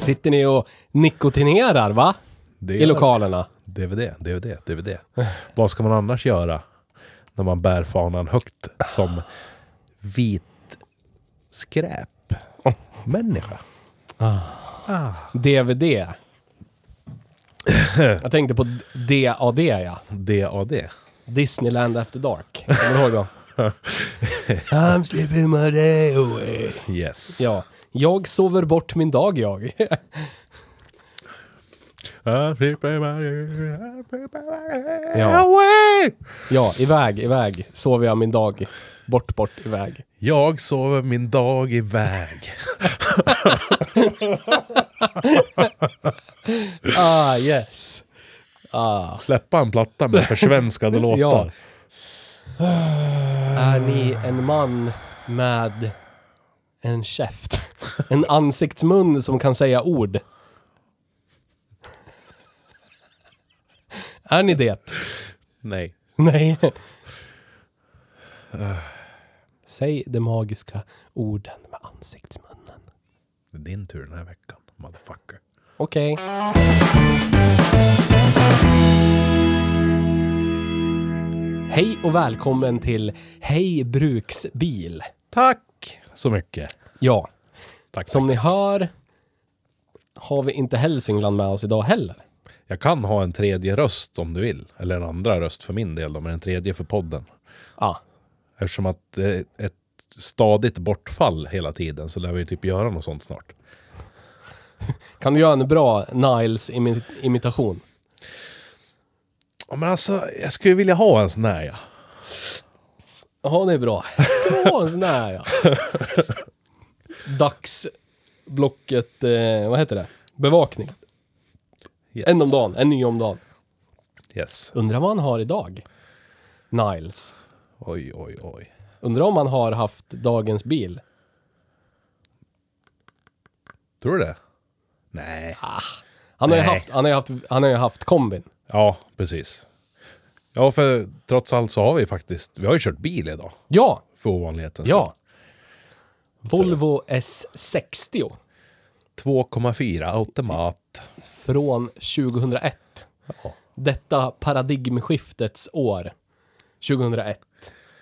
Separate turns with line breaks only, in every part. Sitter ni och nikotinerar va?
Det
I lokalerna?
DVD, DVD, DVD. Vad ska man annars göra när man bär fanan högt som vit skräp? Människa.
Ah.
Ah,
DVD? Jag tänkte på DAD ja.
DAD.
Disneyland After Dark. Kommer du ihåg då?
I'm sleeping my day away. Yes.
Ja. Jag sover bort min dag jag.
I'm sleeping my day I'm sleeping my day
Ja.
away.
Ja, iväg, iväg. Sover jag min dag. Bort, bort, iväg.
Jag sover min dag iväg.
Ah yes. Ah.
Släppa en platta med försvenskade låtar.
Ja. Är ni en man med en käft? En ansiktsmun som kan säga ord? Är ni det?
Nej.
Nej. Säg de magiska orden med ansiktsmunnen.
Det är din tur den här veckan, motherfucker.
Okej. Hej och välkommen till Hej Bruksbil.
Tack så mycket.
Ja,
Tack.
som ni hör har vi inte Hälsingland med oss idag heller.
Jag kan ha en tredje röst om du vill. Eller en andra röst för min del, då, men en tredje för podden.
Ah,
Eftersom att eh, ett stadigt bortfall hela tiden så lär vi typ göra något sånt snart.
kan du göra en bra Niles-imitation?
Ja, men alltså, jag skulle vilja ha en sån här ja.
Ja, det är bra. Ska du ha en sån här ja. Dagsblocket, eh, vad heter det? Bevakning.
Yes.
En om dagen, en ny om dagen.
Yes.
Undrar vad han har idag? Niles.
Oj, oj, oj.
Undrar om han har haft dagens bil?
Tror du det? Nej.
Ah. Han har, ju
Nej.
haft, han, har ju haft, han har ju haft kombin.
Ja, precis. Ja, för trots allt så har vi faktiskt, vi har ju kört bil idag.
Ja,
För ovanlighetens
ja. Volvo S60
skull. 2,4 automat.
från 2001.
Ja.
Detta paradigmskiftets år. 2001.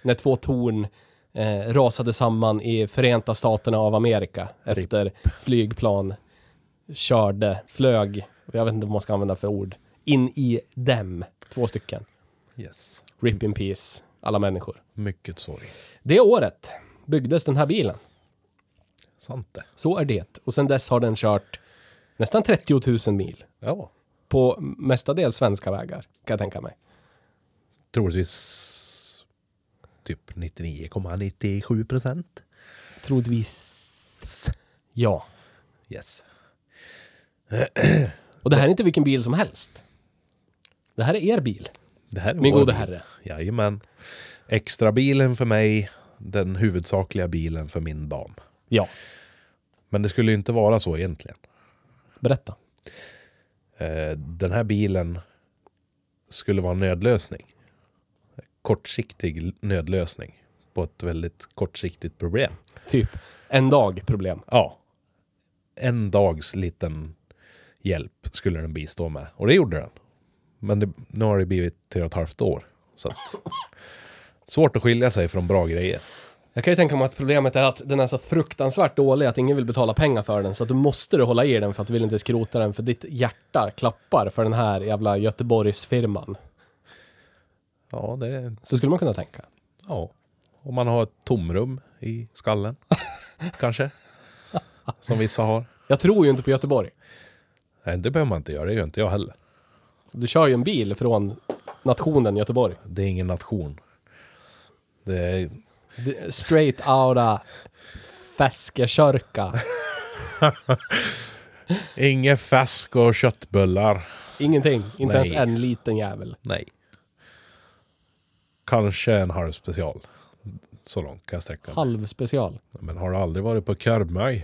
När två torn eh, rasade samman i Förenta Staterna av Amerika efter flygplan körde, flög, jag vet inte vad man ska använda för ord, in i dem. Två stycken.
Yes.
Rip in peace, alla människor.
Mycket sorg.
Det året byggdes den här bilen.
Sant det.
Så är det. Och sedan dess har den kört nästan 30 000 mil.
Ja.
På mestadels svenska vägar, kan jag tänka mig.
troligtvis typ 99,97 procent.
Troligtvis. Ja.
Yes.
Och det här är inte vilken bil som helst. Det här är er bil,
Det här är
min
vår
gode
bil.
herre.
Jajamän. Extra bilen för mig, den huvudsakliga bilen för min dam.
Ja,
Men det skulle ju inte vara så egentligen.
berätta.
Eh, Den här bilen skulle vara en nödlösning. Kortsiktig nödlösning på ett väldigt kortsiktigt problem.
Typ, en dag problem.
Ja. En dags liten hjälp skulle den bistå med. Och det gjorde den. Men det, nu har det blivit tre och ett halvt år. Så att, svårt att skilja sig från bra grejer.
Jag kan ju tänka mig att problemet är att den är så fruktansvärt dålig att ingen vill betala pengar för den, så att du måste du hålla i den för att du vill inte skrota den, för ditt hjärta klappar för den här jävla Göteborgsfirman.
Ja, det...
Så skulle man kunna tänka.
Ja. Om man har ett tomrum i skallen. kanske. Som vissa har.
Jag tror ju inte på Göteborg.
Nej, det behöver man inte göra. Det gör inte jag heller.
Du kör ju en bil från nationen Göteborg.
Det är ingen nation. Det är...
Det- Straight outa Feskekörka.
Inget fäsk och köttbullar.
Ingenting. Inte
Nej.
ens en liten jävel.
Nej. Kanske en halv special. Så långt kan jag sträcka mig.
Halv special.
Men har du aldrig varit på Karmöy?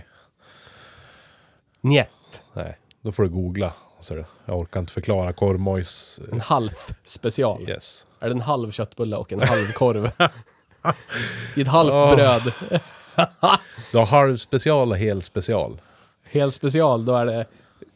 Njet.
Nej, då får du googla. Så är det. Jag orkar inte förklara Kormojs...
En halv special.
Yes.
Är det en halv köttbulle och en halv korv? I ett halvt bröd.
Du har halv special och hel special.
Hel special, då är det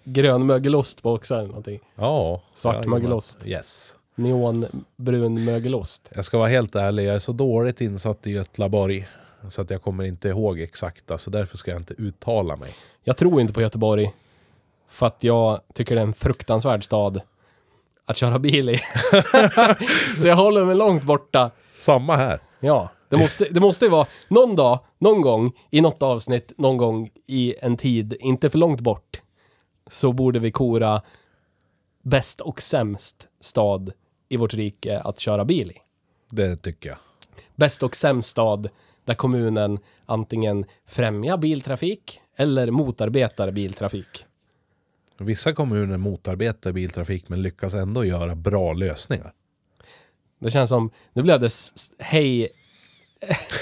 grön mögelost på också eller någonting.
Ja.
Svart
jajamän.
mögelost.
Yes.
Neonbrun mögelost.
Jag ska vara helt ärlig, jag är så dåligt insatt i Götlaborg. Så att jag kommer inte ihåg exakta, så därför ska jag inte uttala mig.
Jag tror inte på Göteborg. För att jag tycker det är en fruktansvärd stad att köra bil i. Så jag håller mig långt borta.
Samma här.
Ja, det måste, det måste ju vara någon dag, någon gång, i något avsnitt, någon gång i en tid, inte för långt bort, så borde vi kora bäst och sämst stad i vårt rike att köra bil i.
Det tycker jag.
Bäst och sämst stad där kommunen antingen främjar biltrafik eller motarbetar biltrafik.
Vissa kommuner motarbetar biltrafik men lyckas ändå göra bra lösningar.
Det känns som, nu blev det s- s- hej,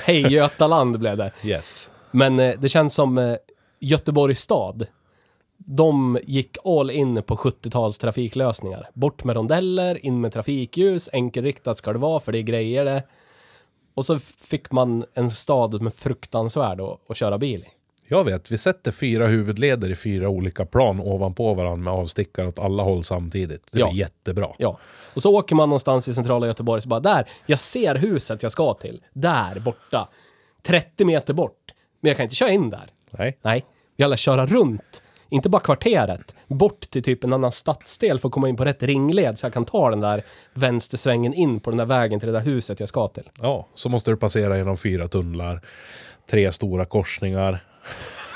hej Götaland blev det.
Yes.
Men eh, det känns som eh, Göteborgs stad. De gick all in på 70-tals trafiklösningar. Bort med rondeller, in med trafikljus, enkelriktat ska det vara för det är grejer det. Och så fick man en stad med fruktansvärd att, att köra bil i.
Jag vet, vi sätter fyra huvudleder i fyra olika plan ovanpå varandra med avstickare åt alla håll samtidigt. Det
Ja.
blir jättebra.
Ja. Och så åker man någonstans i centrala Göteborg så bara där, jag ser huset jag ska till. Där borta. 30 meter bort. Men jag kan inte köra in där.
Nej.
Nej, vi alla köra runt. Inte bara kvarteret, bort till typ en annan stadsdel för att komma in på rätt ringled så jag kan ta den där vänstersvängen in på den där vägen till det där huset jag ska till.
Ja, så måste du passera genom fyra tunnlar, tre stora korsningar,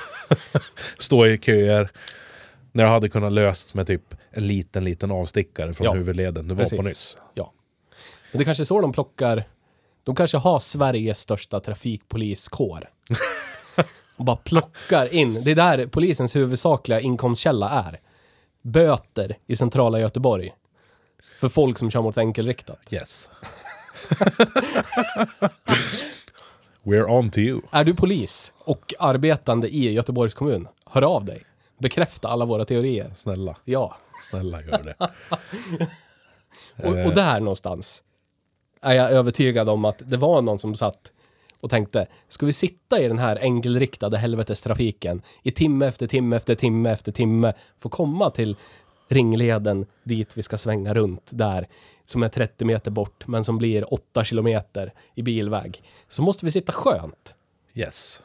stå i köer. När det hade kunnat lösts med typ en liten, liten avstickare från
Ja,
huvudleden du var på nyss.
Ja. Men det kanske är så de plockar, de kanske har Sveriges största trafikpoliskår. Och bara plockar in, det är där polisens huvudsakliga inkomstkälla är. Böter i centrala Göteborg. För folk som kör mot enkelriktat.
Yes. We're on to you.
Är du polis och arbetande i Göteborgs kommun? Hör av dig. Bekräfta alla våra teorier.
Snälla,
Ja.
snälla gör det.
Och, och där någonstans är jag övertygad om att det var någon som satt och tänkte, ska vi sitta i den här enkelriktade helvetestrafiken i timme efter timme efter timme efter timme för att komma till ringleden dit vi ska svänga runt där som är 30 meter bort men som blir 8 kilometer i bilväg. Så måste vi sitta skönt.
Yes.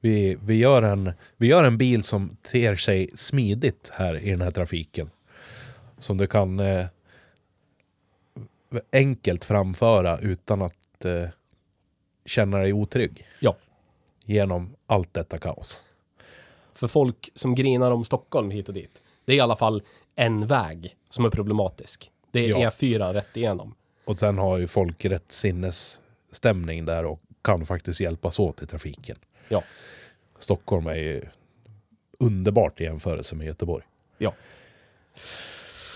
Vi, vi, gör en, vi gör en bil som ter sig smidigt här i den här trafiken. Som du kan eh, enkelt framföra utan att eh, känna dig otrygg
Ja.
genom allt detta kaos.
för folk som grinar om Stockholm hit och dit. Det är i alla fall en väg som är problematisk. Det är
Ja.
E4 rätt igenom.
Och sen har ju folk rätt sinnesstämning där och kan faktiskt hjälpas åt i trafiken.
Ja,
Stockholm är ju underbart i jämförelse med Göteborg.
ja.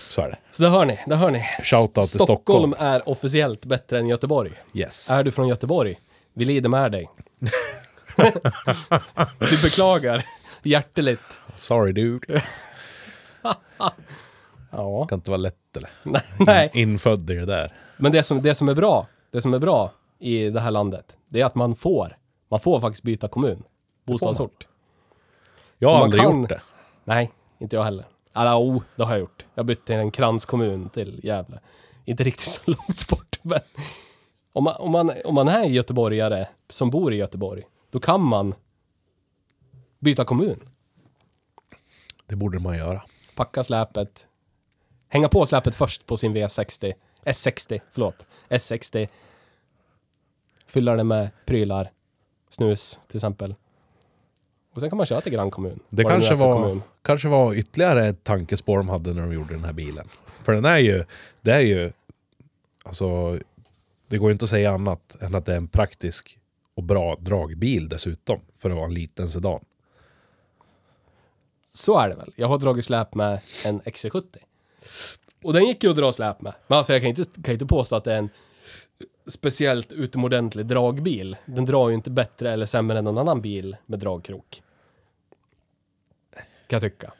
Så är det.
Så där hör ni, där hör ni.
Shoutout till Stockholm.
Stockholm är officiellt bättre än Göteborg.
Yes.
Är du från Göteborg? Vi lider med dig. Vi beklagar hjärteligt.
Sorry dude.
Ja,
Kan inte vara lätt eller?
nej, nej.
Infödd i det där.
Men det som, det som är bra, det som är bra i det här landet, det är att man får, man får faktiskt byta kommun, bostadsort.
Jag
Så
har
man
aldrig
kan-
gjort det.
Nej, inte jag heller. Eller oh, det har jag gjort. Jag bytte till en kranskommun till Gävle. Inte riktigt så långt bort, men om man, om, man, om man är göteborgare som bor i Göteborg, då kan man byta kommun.
Det borde man göra.
Packa släpet, hänga på släpet först på sin V60, S60, förlåt, S60. Fylla det med prylar, snus till exempel. Och Och sen kan man köra till grannkommun.
Det
Vad nu
kanske
är för
var,
kommun.
kanske var ytterligare ett tankespår de hade när de gjorde den här bilen. För den är ju, det är ju, alltså, det går ju inte att säga annat än att det är en praktisk och bra dragbil dessutom, för att vara en liten sedan.
Så är det väl. Jag har dragit släp med en XC70. Och den gick ju att dra släp med. Men alltså jag kan inte, kan inte påstå att det är en speciellt utomordentlig dragbil. Den drar ju inte bättre eller sämre än någon annan bil med dragkrok. Kan jag tycka.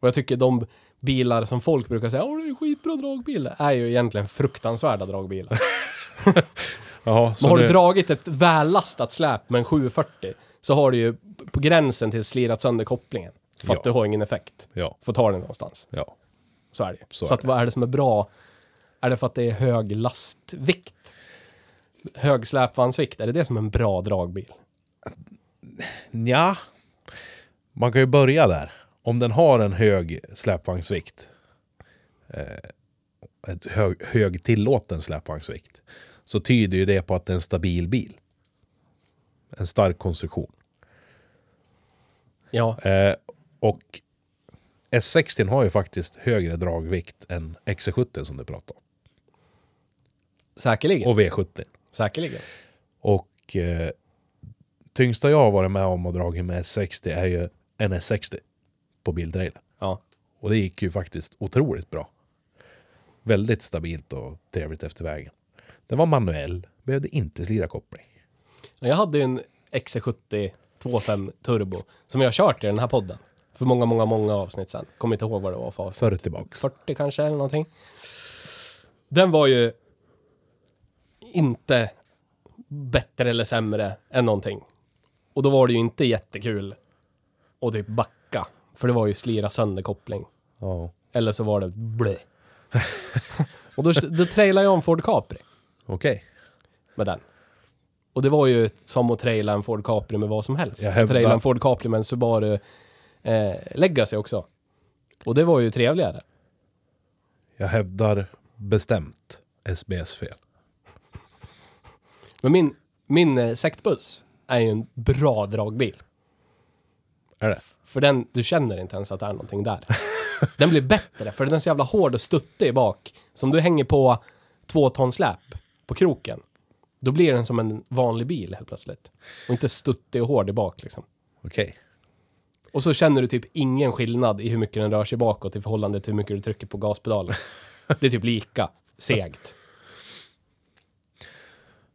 Och jag tycker de bilar som folk brukar säga Åh, det är en skitbra dragbil. är ju egentligen fruktansvärda dragbilar.
Jaha,
Men
så
har du
nu-
dragit ett vällastat släp med en 740 så har du ju på gränsen till slirat sönder kopplingen. För att
Ja.
du har ingen effekt.
Ja,
Får ta den någonstans.
ja.
Så är det ju.
Så
Så,
är
att,
det.
vad är det som är bra? Är det för att det är hög lastvikt? Hög släpvagnsvikt, är det det som är en bra dragbil?
Nja, man kan ju börja där. Om den har en hög släpvagnsvikt, eh, ett hög, hög tillåten släpvagnsvikt, så tyder ju det på att det är en stabil bil. En stark konstruktion.
Ja,
Eh, och S60 har ju faktiskt högre dragvikt än XC70 som du pratade om.
säkerligen.
Och V70.
Säkerligen.
Och eh, tyngsta jag har varit med om och dragit med S60 är ju en S60 på biltrailer.
Ja.
Och det gick ju faktiskt otroligt bra. Väldigt stabilt och trevligt efter vägen. Den var manuell, behövde inte slira koppling.
Och Jag hade ju en XC70 25 Turbo som jag har kört i den här podden. För många, många, många avsnitt sedan. Kommer inte ihåg vad det var för avsnitt.
Förr tillbaks.
40 kanske eller någonting. Den var ju inte bättre eller sämre än någonting. Och då var det ju inte jättekul att typ backa. För det var ju slira sönder koppling.
Ja,
Eller så var det blä. och då, då trailade jag en Ford Capri
okej.
med den. Och det var ju som att traila en Ford Capri med vad som helst.
Jag hävdar-
Traila en Ford Capri med en Subaru eh, Legacy också. Och det var ju trevligare.
Jag hävdar bestämt SBS-fel.
Men min, min eh, sektbuss är ju en bra dragbil.
Är det?
För den, du känner inte ens att det är någonting där. Den blir bättre, för den är så jävla hård och stöttig bak. Som du hänger på två ton släp på kroken. Då blir den som en vanlig bil helt plötsligt. Och inte stöttig och hård i bak liksom.
Okej.
Och så känner du typ ingen skillnad i hur mycket den rör sig bakåt i förhållande till hur mycket du trycker på gaspedalen. Det är typ lika segt.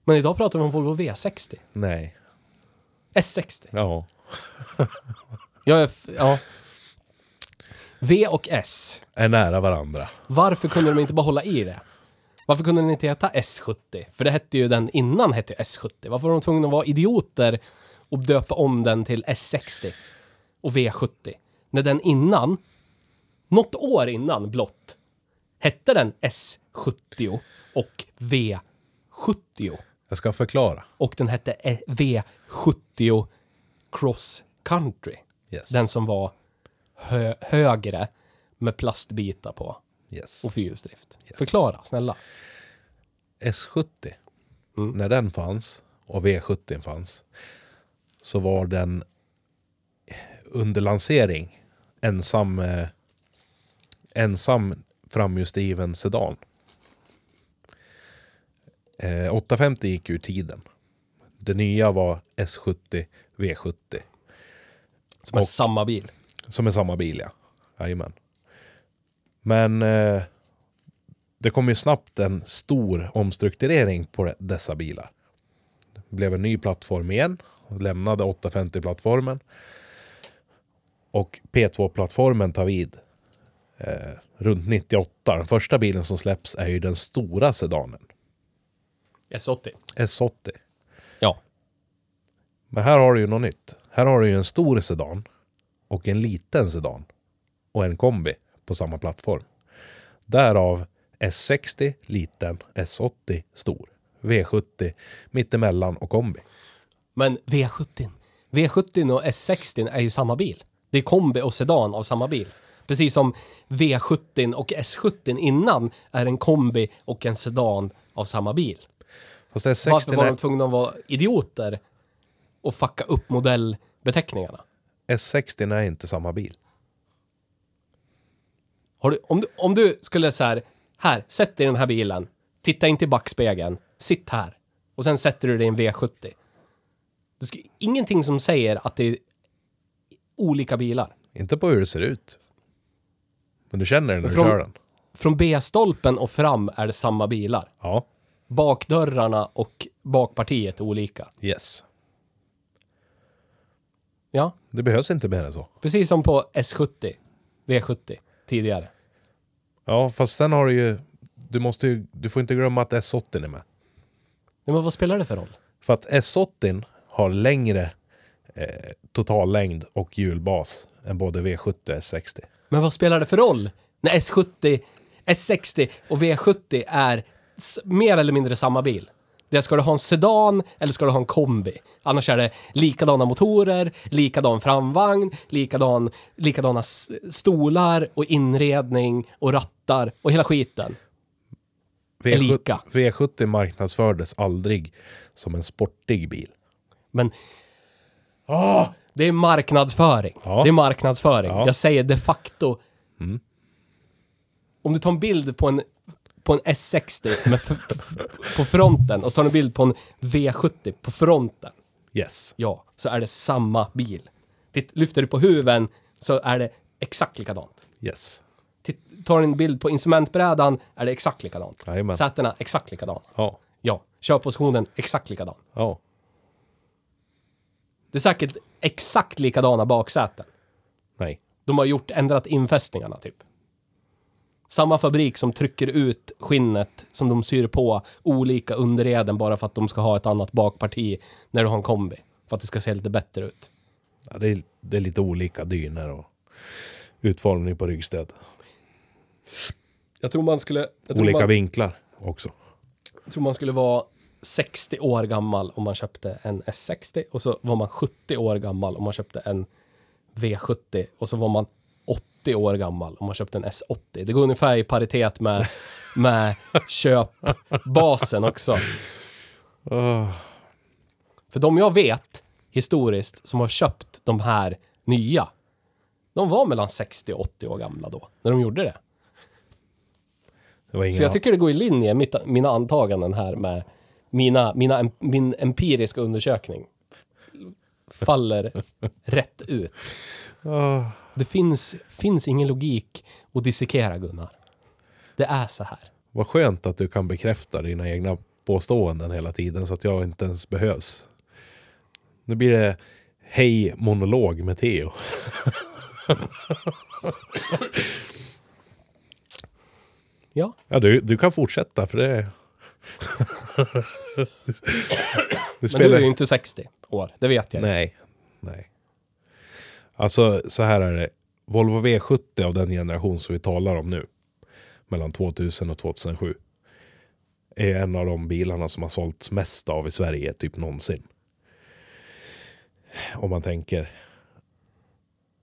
Men idag pratar vi om Volvo V60.
Nej.
S60.
Ja.
Jag är f- ja. V och S.
Är nära varandra.
Varför kunde de inte bara hålla i det? Varför kunde den inte heta S70? För det hette ju den innan hette ju S70. Varför var de tvungna att vara idioter och döpa om den till S60 och V70? När den innan, något år innan blott, hette den S70 och V70.
Jag ska förklara.
Och den hette E- V70 Cross Country.
Yes.
Den som var hö högre med plastbitar på
yes.
och fyrhjulsdrift. Förklara, snälla.
S70, när den fanns och V70 fanns, så var den under lansering ensam, eh, ensam framhjulsdriven sedan. Eh, 850 gick ur tiden. Det nya var S70 V70
Som är samma bil.
som är samma bil, ja. Jajamän. Men eh, det kom ju snabbt en stor omstrukturering på de- dessa bilar. Det blev en ny plattform igen, och lämnade 850-plattformen. Och P2-plattformen tar vid eh, runt 98. Den första bilen som släpps är ju den stora sedanen,
S80.
S80.
Ja.
Men här har du ju något nytt. Här har du ju en stor sedan och en liten sedan och en kombi på samma plattform. Därav S60 liten, S80 stor, V70 mittemellan och kombi.
Men V70. V70 och S60 är ju samma bil. Det är kombi och sedan av samma bil. Precis som V70 och S70 innan är en kombi och en sedan av samma bil.
Fast S60
Varför var
är...
de tvungna att vara idioter och fucka upp modell beteckningarna.
S60 är inte samma bil.
Har du, om, du, om du skulle så här, här, sätt dig i den här bilen, titta inte i backspegeln, sitt här. Och sen sätter du dig i en V70. Du ska, ingenting som säger att det är olika bilar.
Inte på hur det ser ut. Men du känner den när du
Från-
kör den.
Från B-stolpen och fram är det samma bilar.
Ja,
Bakdörrarna och bakpartiet är olika.
yes.
Ja,
Det behövs inte mer än så.
precis som på S70, V70 tidigare.
Ja, fast sen har du ju... Du, måste ju, du får inte glömma att S80 är med.
Nej, men vad spelar det för roll?
För att S80 har längre eh, totallängd och hjulbas än både V70 och S60.
Men vad spelar det för roll när S70, S60 och V70 är s- mer eller mindre samma bil? Det är, ska du ha en sedan eller ska du ha en kombi? Annars är det likadana motorer, likadan framvagn, likadan, likadana s- stolar och inredning och rattar och hela skiten. Är
V70,
lika.
V70 marknadsfördes aldrig som en sportig bil.
Men... Åh! Det är marknadsföring.
Ja.
Det är marknadsföring.
Ja. Mm.
Jag säger de facto... Om du tar en bild på en, på en S60 med f- f- på fronten och så tar du en bild på en V70 på fronten.
Yes.
Ja, så är det samma bil. Titt, lyfter du på huven så är det exakt likadant.
Yes.
Titt, tar du en bild på instrumentbrädan är det exakt likadant.
Jajamän.
Sätena exakt likadana.
Ja.
Ja, körpositionen exakt likadan.
Ja.
Det är säkert exakt likadana baksäten.
Nej.
De har gjort, ändrat infästningarna typ. Samma fabrik som trycker ut skinnet som de syr på olika underreden bara för att de ska ha ett annat bakparti när du har en kombi. För att det ska se lite bättre ut.
Ja, det, är, det är lite olika dyner och utformning på ryggstöd.
Jag tror man skulle... Jag tror,
Olika
man,
vinklar också.
tror man skulle vara 60 år gammal om man köpte en S60 och så var man 70 år gammal om man köpte en V70 och så var man 80 år gammal om man köpte en S80. Det går ungefär i paritet med, med köpbasen också. Ah. För de jag vet historiskt som har köpt de här nya, de var mellan 60 och 80 år gamla då, när de gjorde det.
Det var ingen
Så jag tycker det går i linje, mitt, mina antaganden här med mina, mina, em- min empiriska undersökning faller rätt ut.
Ah.
Det finns, finns ingen logik att dissekera, Gunnar. Det är så här.
Vad skönt att du kan bekräfta dina egna påståenden hela tiden så att jag inte ens behövs. Nu blir det hej monolog med Theo.
Ja,
Ja, du, du kan fortsätta för det... du
men du är ju inte 60 år, det vet jag.
Nej, nej. Alltså så här är det. Volvo V70 av den generation som vi talar om nu. Mellan 2000 och 2007. Är en av de bilarna som har sålts mest av i Sverige typ någonsin. Om man tänker.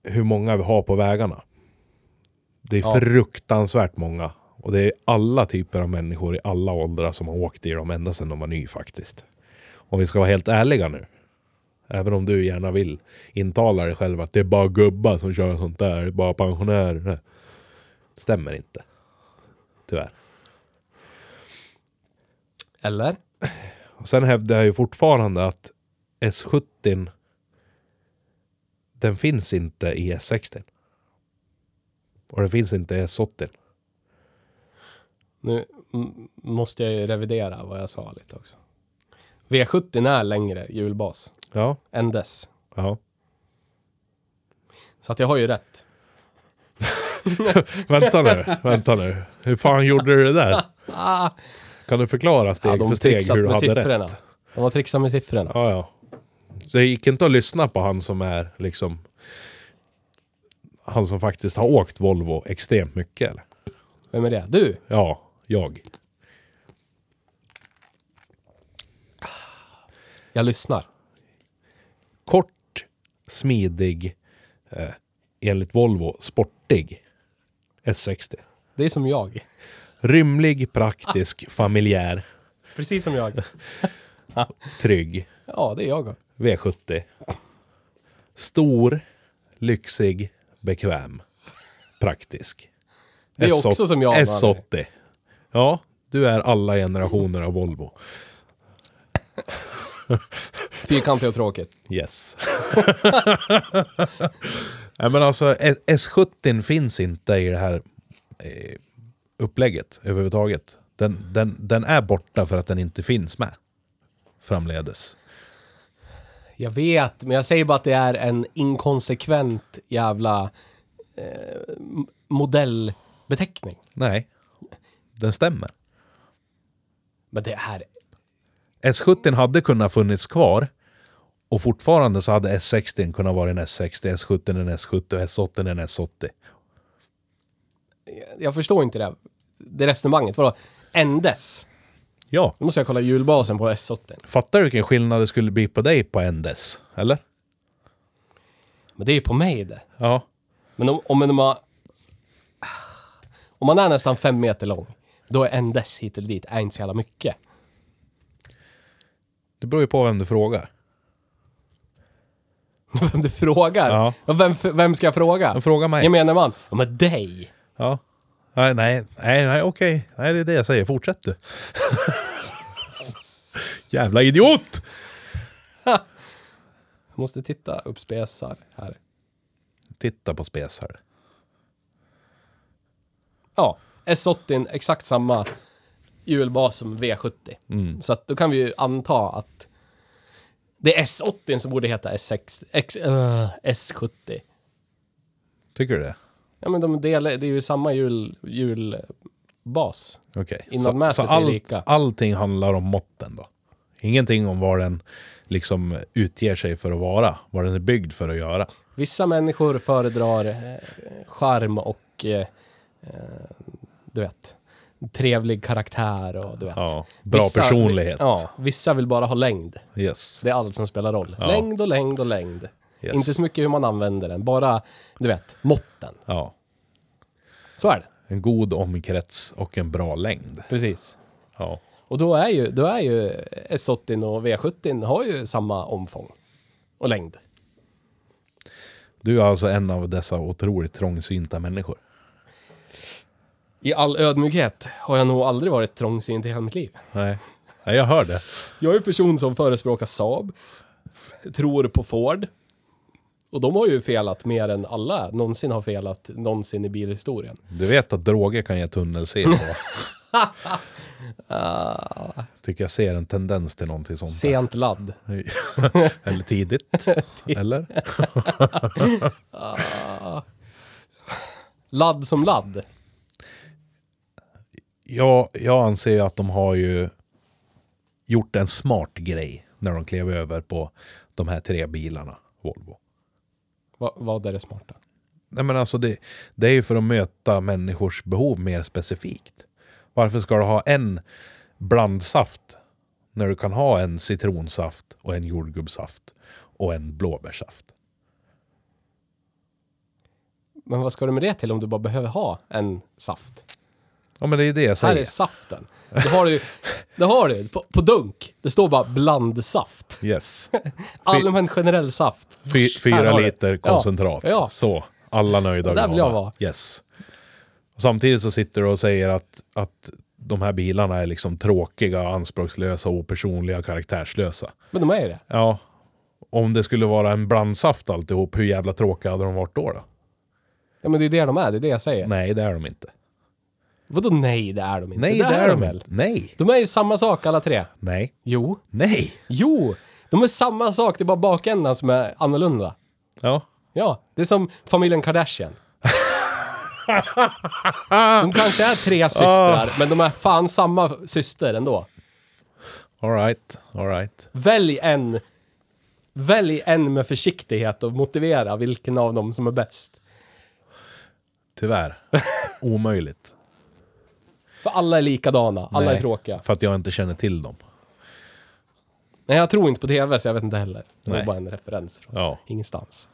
Hur många vi har på vägarna. Det är
Ja.
fruktansvärt många. Och det är alla typer av människor i alla åldrar som har åkt i dem ända sedan de var ny faktiskt. Om vi ska vara helt ärliga nu. Även om du gärna vill intala dig själv att det är bara gubbar som kör sånt där, det är bara pensionärer. Stämmer inte. Tyvärr.
Eller?
Och sen hävdar jag ju fortfarande att S70 den finns inte i S60. Och den finns inte i S80.
Nu m- måste jag ju revidera vad jag sa lite också. V70 är längre hjulbas
Ja,
än dess.
ja.
Så att jag har ju rätt.
Vänta nu, vänta nu. Hur fan gjorde du det där? Kan du förklara steg för steg hur du hade
siffrorna.
rätt?
De har trixat med siffrorna.
Ja, ja. Så det gick inte att lyssna på han som är liksom... Han som faktiskt har åkt Volvo extremt mycket eller?
Vem är det? Du!
Ja, jag.
Jag lyssnar.
Kort, smidig, eh, enligt Volvo, sportig. S60.
Det är som jag.
Rymlig, praktisk, familjär,
Precis som jag.
trygg.
Ja, det är jag.
V70. Stor, lyxig, bekväm, praktisk.
Det är också som jag anade.
S80. Ja, du är alla generationer av Volvo.
Fyrkantigt och tråkigt.
Yes. Nej men alltså S- S70 finns inte i det här eh, upplägget överhuvudtaget. Den, den, den är borta för att den inte finns med framledes.
Jag vet, men jag säger bara att det är en inkonsekvent jävla eh, m- modellbeteckning.
Nej, den stämmer.
Men det är...
S70 hade kunnat funnits kvar och fortfarande så hade S60 kunnat vara en S60, S70 en S70 och S80 en S80.
Jag förstår inte det, här- det resonemanget. Vadå? Endes?
Ja,
Nu måste jag kolla julbasen på S80.
fattar du vilken skillnad det skulle bli på dig på en dess? Eller?
Men det är ju på mig det.
Ja.
Men om, om, om, man, om man är nästan fem meter lång, då är en dess hit eller dit är inte så jävla mycket.
Det beror ju på vem du frågar.
Vem du frågar.
Ja.
Och Vem, f- vem ska jag fråga?
Men fråga mig.
Jag menar man. Ja, men dig.
Ja. Nej, nej, nej, nej okej. Nej, det är det jag säger. Fortsätt du. Jävla idiot!
Jag måste titta upp spesar här.
Titta på spesar.
Ja, S80 exakt samma hjulbas som V70.
Mm.
Så att då kan vi ju anta att det är S80 som borde heta S6, X, eh, S70.
Tycker du det?
Ja men de delar, det är ju samma hjul, hjulbas.
Okej.
Innan
Så,
mätet
så
är lika.
allting handlar om måtten då? Ingenting om vad den liksom utger sig för att vara. Vad den är byggd för att göra.
Vissa människor föredrar eh, charm och eh, eh, du vet, trevlig karaktär och du vet.
Ja, bra personlighet.
Ja, vissa vill bara ha längd.
Yes.
Det är allt som spelar roll.
Ja.
Längd och längd och längd.
Yes.
Inte så mycket hur man använder den, bara, du vet, måtten.
Ja.
Så är det.
En god omkrets och en bra längd.
Precis.
Ja.
Och då är ju, då är ju S80 och V70 har ju samma omfång och längd.
Du är alltså en av dessa otroligt trångsynta människor.
I all ödmjukhet har jag nog aldrig varit trångsynt i hela mitt liv.
Nej, Nej jag hör det.
Jag är en person som förespråkar Saab, tror på Ford. Och de har ju felat mer än alla någonsin har felat någonsin i bilhistorien.
Du vet att droger kan ge tunnelseende va?
Ah.
Tycker jag ser en tendens till någonting sånt. där.
Sent ladd.
Eller tidigt. Eller?
Ladd som ladd.
Jag, jag anser ju att de har ju gjort en smart grej när de klev över på de här tre bilarna, Volvo.
Va, vad är det smarta?
Nej men alltså det, det är ju för att möta människors behov mer specifikt. Varför ska du ha en blandsaft när du kan ha en citronsaft och en jordgubbssaft och en blåbärssaft?
Men vad ska du med det till om du bara behöver ha en saft?
Ja men det är ju det jag
Här är
säger.
saften. Det har du Det har du på, på dunk. Det står bara blandsaft.
Yes.
Allmän generell saft.
Fy,
Här
fyra
har du.
liter
Ja,
koncentrat.
Ja,
Så, alla nöjda och
Där vill jag
glada.
vara.
Yes. Och samtidigt så sitter du och säger att, att de här bilarna är liksom tråkiga, anspråkslösa, opersonliga, karaktärslösa.
men de är ju det.
Ja. Om det skulle vara en blandsaft alltihop, hur jävla tråkiga hade de varit då? då?
Ja, men det är det de är. Det är det jag säger.
Nej, det är de inte.
Vadå nej, det är de inte.
Nej, det, är de inte. Nej.
De är ju samma sak alla tre.
Nej.
Jo.
Nej.
Jo! De är samma sak, det är bara bakändan som är annorlunda.
Ja.
Ja, det är som familjen Kardashian. De kanske är tre systrar,
Ah.
men de är fan samma syster ändå.
All right. All right.
Välj en. Välj en med försiktighet och motivera vilken av dem som är bäst.
Tyvärr. Omöjligt.
För alla är likadana, alla
Nej,
är tråkiga.
För att jag inte känner till dem.
Nej, jag tror inte på TV, så jag vet inte heller. Det var
Nej.
bara en referens från
Ja.
ingenstans.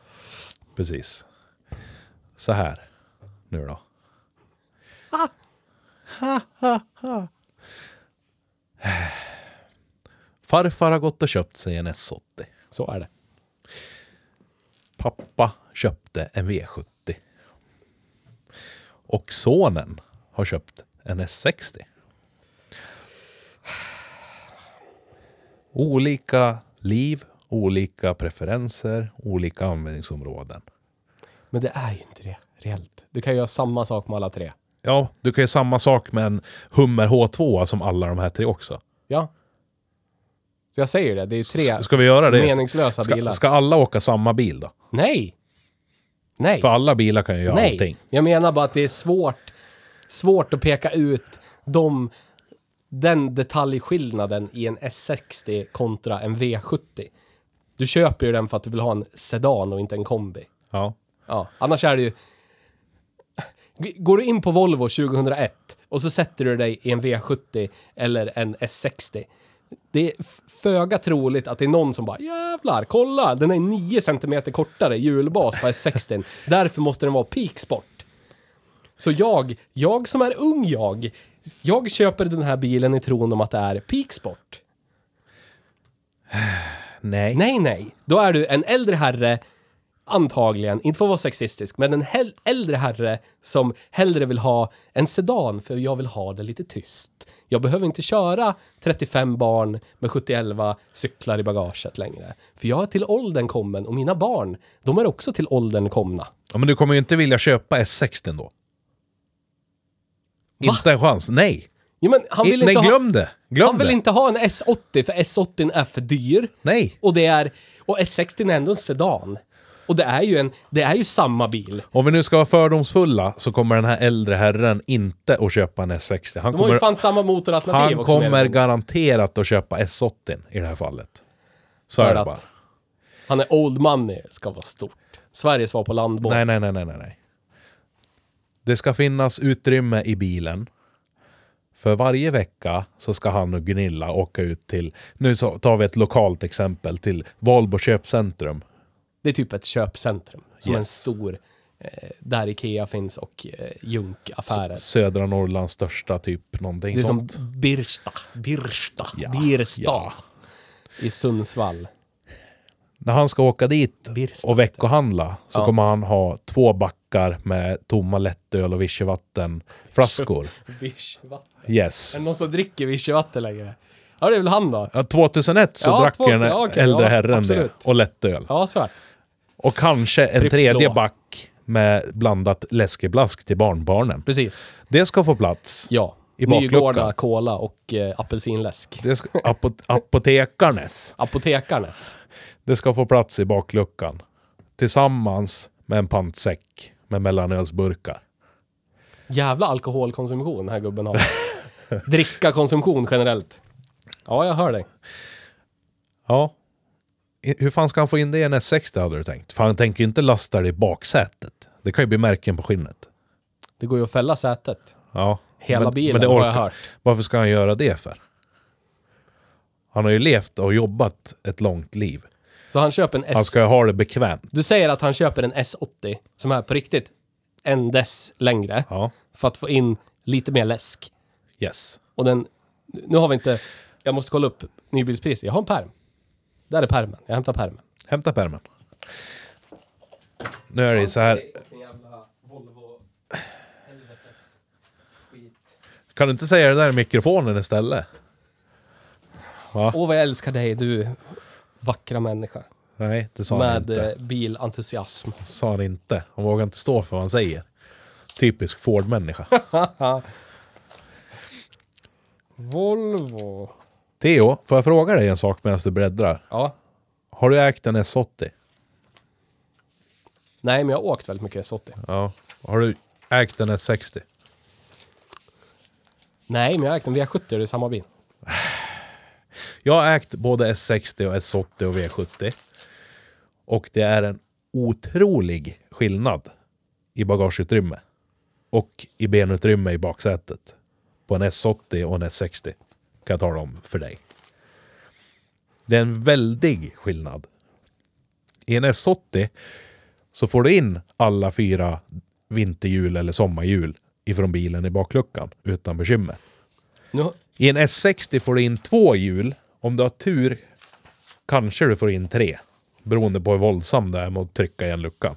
Precis. Så här. Nu då. Farfar har gått och köpt sig en S80.
Så är det.
Pappa köpte en V70. Och sonen har köpt en S60. Olika liv, olika preferenser, olika användningsområden.
Men det är ju inte det, reellt. Du kan ju göra samma sak med alla tre.
Ja, du kan ju samma sak med en Hummer H2 som alla de här tre också.
Ja. Så jag säger det, det är ju tre
S- Ska vi göra det?
meningslösa bilar.
Ska, ska alla åka samma bil då?
Nej! Nej!
För alla bilar kan ju göra
Nej!
allting.
Jag menar bara att det är svårt, svårt att peka ut de, den detaljskillnaden i en S60 kontra en V70. Du köper ju den för att du vill ha en sedan och inte en kombi.
Ja.
Ja, annars är det ju... Går du in på Volvo 2001 och så sätter du dig i en V70 eller en S60. Det är f- föga troligt att det är någon som bara jävlar, kolla, den är 9 cm kortare hjulbas på S60. Därför måste den vara peaksport. Så jag, jag som är ung jag, jag köper den här bilen i tron om att det är peaksport.
Nej.
Nej, nej. Då är du en äldre herre, antagligen, inte för att vara sexistisk, men en hel- äldre herre som hellre vill ha en sedan, för jag vill ha det lite tyst. Jag behöver inte köra 35 barn med 71 cyklar i bagaget längre. För jag är till åldern kommen och mina barn, de är också till åldern komna.
Ja, men du kommer ju inte vilja köpa S60 då. Inte en chans. Nej.
Ja, men han
I-
vill
Nej,
inte ha,
glöm det. Glöm
han vill
det.
inte ha en S80, för S80 är för dyr.
Nej.
Och det är... Och S60 är ändå en sedan. Och det är ju en... Det är ju samma bil.
Om vi nu ska vara fördomsfulla så kommer den här äldre herren inte att köpa en S60. Han
De har ju
kommer,
fan samma motoralternativ
han
också.
kommer
menar de.
garanterat att köpa S80 i det här fallet. Så
För
är det
att-
bara.
Han är old money, ska vara stort. Sverige svar på landbåt.
Nej, nej, nej, nej, nej, nej. Det ska finnas utrymme i bilen. För varje vecka så ska han och Gunilla åka ut till, nu så tar vi ett lokalt exempel, till Valbo köpcentrum.
Det är typ ett köpcentrum. Som en
Yes.
stor, eh, där Ikea finns och eh, Junk-affärer.
Södra Norrlands största typ någonting
Det är som
sånt.
Birsta, Birsta,
Ja,
Birsta.
ja.
I Sundsvall.
När han ska åka dit
Birsta.
och veckohandla så
Ja.
kommer han ha två backar med tomma lättöl och vichyvattenflaskor.
Vichyvatten.
Yes.
Är det någon som dricker vichyvatten längre? Ja, det är väl han då.
Ja, 2001 så
Ja,
drack ju den
2000, ja, okej,
äldre
ja,
herren
absolut.
det och lättöl.
Ja, så är det.
Och kanske en
Pripps
tredje
blå.
back med blandat läskeblask till barnbarnen.
Precis.
Det ska få plats.
Ja.
I bakluckan.
Nygårda, Cola och eh, apelsinläsk.
Det ska, apo- apotekarnes.
Apotekarnes.
Det ska få plats i bakluckan. Tillsammans med en pantsäck med mellanölsburkar.
Jävla alkoholkonsumtion den här gubben har. Dricka konsumtion generellt. Ja, jag hör dig.
Ja. I- Hur fan ska han få in det i en S60 hade du tänkt? För han tänker ju inte lasta det i baksätet. Det kan ju bli märken på skinnet.
Det går ju att fälla sätet.
Ja.
Hela bilen,
det
har jag
orkar-
hört.
Varför ska han göra det för? Han har ju levt och jobbat ett långt liv.
Så han köper en S...
Han ska ju ha det bekvämt.
Du säger att han köper en S80 som är på riktigt en dess längre
Ja.
för att få in lite mer läsk.
Yes.
Och den... Nu har vi inte... Jag måste kolla upp nybilspriset. Jag har en perm. Där är permen. Jag hämtar permen.
Hämta pärmen. Nu är det ju så här. Kan du inte säga det där i mikrofonen istället?
Åh, vad jag älskar dig, du vackra människa.
Nej, det sa han
Med
inte.
eh, bilentusiasm.
sa han inte. Han vågar inte stå för vad han säger. Typisk Ford-människa.
Volvo.
Theo, får jag fråga dig en sak medan du bläddrar?
Ja.
Har du ägt en S80?
Nej, men jag har åkt väldigt mycket S80.
Ja. Har du ägt en S60?
Nej, men jag har ägt en V70 och det är samma bil.
Jag har ägt både S60 och S80 och V70. Och det är en otrolig skillnad i bagageutrymme och i benutrymme i baksätet på en S80 och en S60. Kan jag tala om för dig. Det är en väldig skillnad. I en S80 så får du in alla fyra vinterhjul eller sommarhjul ifrån bilen i bakluckan utan bekymmer.
Nu,
I en S60 får du in två hjul. Om du har tur kanske du får in tre. Beroende på hur våldsam det är mot att trycka igen luckan.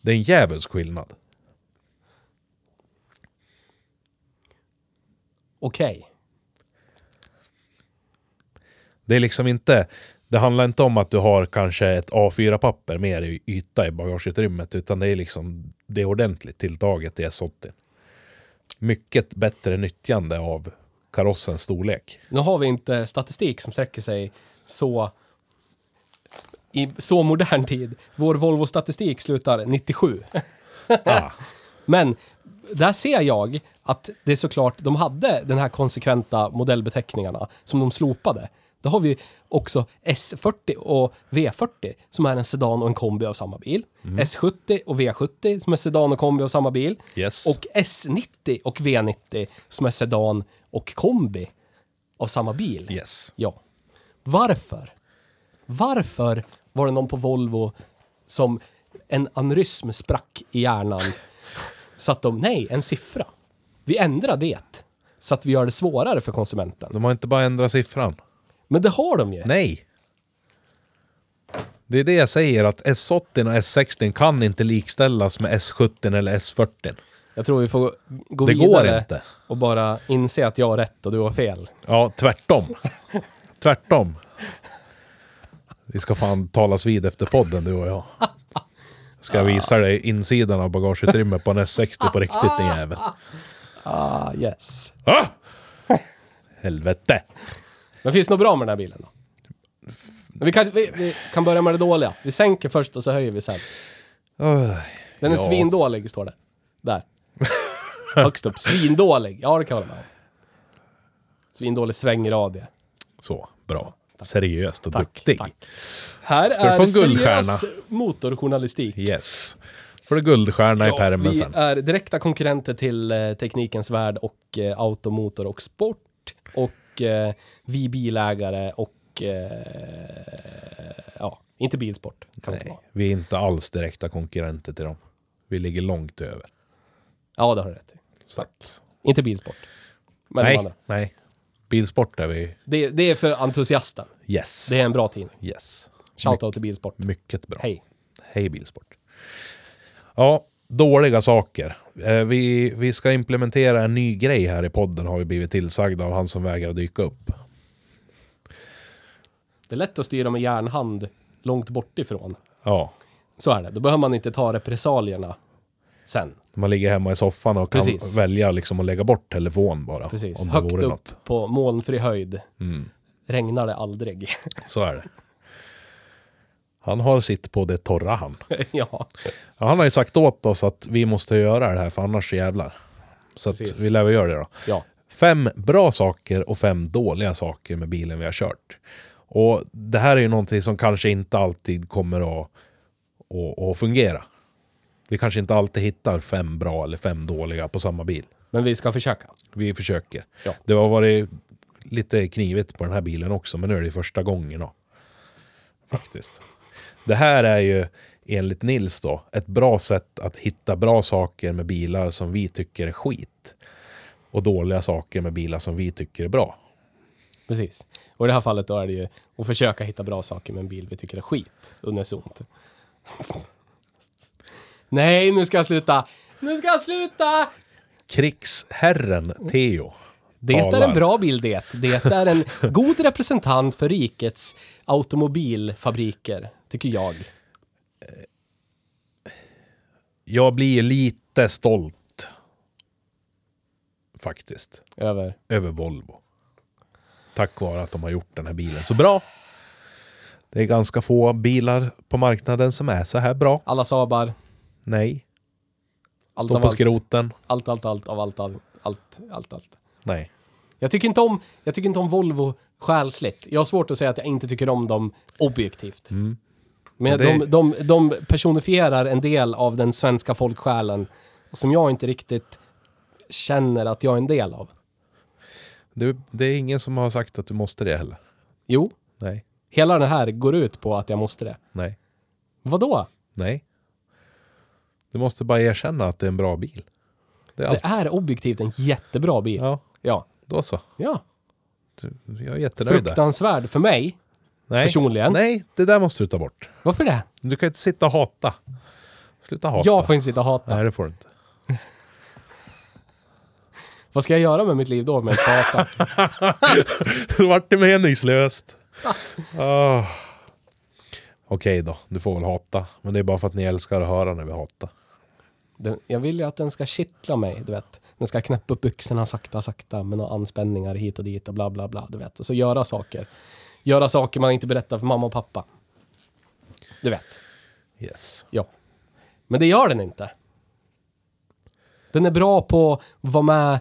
Det är en djävulsk skillnad.
Okej.
Det är liksom inte... Det handlar inte om att du har kanske ett A4-papper mer i yta i bagageutrymmet utan det är liksom det är ordentligt tilltaget i S80. Mycket bättre nyttjande av karossens storlek.
Nu har vi inte statistik som sträcker sig så i så modern tid. Vår Volvo-statistik slutar 97.
Ah,
Men där ser jag att det är såklart, de hade den här konsekventa modellbeteckningarna som de slopade. Då har vi också S40 och V40 som är en sedan och en kombi av samma bil. S70 och V70 som är sedan och kombi av samma bil.
yes.
Och S90 och V90 som är sedan och kombi av samma bil.
yes.
Ja. Varför? Varför var det någon på Volvo som en aneurysm sprack i hjärnan så att de, nej, en siffra. Vi ändrar det så att vi gör det svårare för konsumenten.
De har inte bara ändrat siffran.
Men det har de ju.
Nej. Det är det jag säger att S80 och S60 kan inte likställas med S70 eller S40.
Jag tror vi får gå
Det går
vidare
inte.
och bara inse att jag har rätt och du har fel.
Ja, tvärtom. tvärtom. Vi ska fan talas vid efter podden, du och jag. Ska jag visa dig insidan av bagageutrymmet på en S60 på riktigt, din jävel.
Ah, yes.
Ah! Helvete!
Men finns det något bra med den här bilen då? Vi kan, vi, vi kan börja med det dåliga. Vi sänker först och så höjer vi sen.
Öh,
Den är
Ja.
svindålig, står det. Där. Högst upp. Svindålig. Ja, det kan jag hålla med om. Svindålig svängradie.
Så, bra. Seriöst och
Tack,
duktig.
tack. Här
du få
är
en guldstjärna?
seriös motorjournalistik.
Yes. Får du guldstjärna i
Ja,
pärmen
vi
sen.
är direkta konkurrenter till eh, Teknikens Värld och eh, Automotor och Sport. Och eh, vi bilägare och... Eh, ja, inte bilsport. Kan det inte
Nej,
vara.
vi är inte alls direkta konkurrenter till dem. Vi ligger långt över.
Ja, det har du rätt i.
Så att,
Inte bilsport. Men de
nej,
andra.
nej. Bilsport är vi.
Det, det är för entusiasten.
Yes.
Det är en bra tidning.
Yes.
Shoutout till Bilsport.
Mycket bra.
Hej.
Hej Bilsport. Ja, dåliga saker. Eh, Vi, vi ska implementera en ny grej här i podden har vi blivit tillsagda av han som vägrar dyka upp.
Det är lätt att styra med järnhand långt bort ifrån.
Ja,
Så är det. Då behöver man inte ta repressalierna sen.
man ligger hemma i soffan och kan
Precis.
välja liksom att lägga bort telefon bara.
Precis.
Om det
Högt upp
vore något. Mm.
på molnfri höjd regnar det aldrig.
Så är det. Han har sitt på det torra han.
ja,
Ja, han har ju sagt åt oss att vi måste göra det här för annars jävlar. Så att
Precis.
vi lär väl göra det då.
ja.
Fem bra saker och fem dåliga saker med bilen vi har kört. Och det här är ju någonting som kanske inte alltid kommer att, att, att fungera. Vi kanske inte alltid hittar fem bra eller fem dåliga på samma bil.
Men vi ska försöka.
Vi försöker.
Ja.
Det har varit lite knivigt på den här bilen också, men nu är det första gången. Då. Faktiskt. Det här är ju, enligt Nils då, ett bra sätt att hitta bra saker med bilar som vi tycker är skit. Och dåliga saker med bilar som vi tycker är bra.
Precis. Och i det här fallet då är det ju att försöka hitta bra saker med en bil vi tycker är skit. Unisont. Nej, nu ska jag sluta. Nu ska jag sluta!
Krigsherren Theo.
Det är en
talar.
bra bild det. Det är en god representant för rikets automobilfabriker, tycker jag.
Jag blir lite stolt. Faktiskt.
Över.
över Volvo. Tack vare att de har gjort den här bilen så bra. Det är ganska få bilar på marknaden som är så här bra.
Alla Saabar.
Nej.
Allt
Stå
av
på
allt.
skroten.
Allt, allt, allt av allt, allt, allt, allt, allt.
Nej.
Jag tycker inte om, jag tycker inte om Volvo själsligt. Jag har svårt att säga att jag inte tycker om dem objektivt. Men
Och Mm. det-
de, de, de personifierar en del av den svenska folksjälen som jag inte riktigt känner att jag är en del av.
Det, det är ingen som har sagt att du måste det heller.
Jo,
Nej.
hela det här går ut på att jag måste det.
Nej.
Vadå?
Nej. Du måste bara erkänna att det är en bra bil. Det är allt.
Det är objektivt en jättebra bil. Ja.
Ja,
Ja.
då så. Du- Jag är jättenöjd där.
Fruktansvärd för mig,
Nej.
Personligen.
Nej, det där måste du ta bort.
Varför det?
Du kan ju inte sitta och hata. Sluta hata.
Jag får inte sitta och hata.
Nej, det får du inte.
Vad ska jag göra med mitt liv då om jag inte får hata?
Då vart det meningslöst. Ah. Okej då, du får väl hata. Men det är bara för att ni älskar att höra när vi hatar.
Den, jag vill ju att den ska kittla mig, du vet. Den ska knäppa upp byxorna sakta, sakta med några anspänningar hit och dit och bla, bla, bla, du vet. Och så göra saker. Göra saker man inte berättar för mamma och pappa. Du vet,
Yes.
ja. Men det gör den inte. Den är bra på att vara med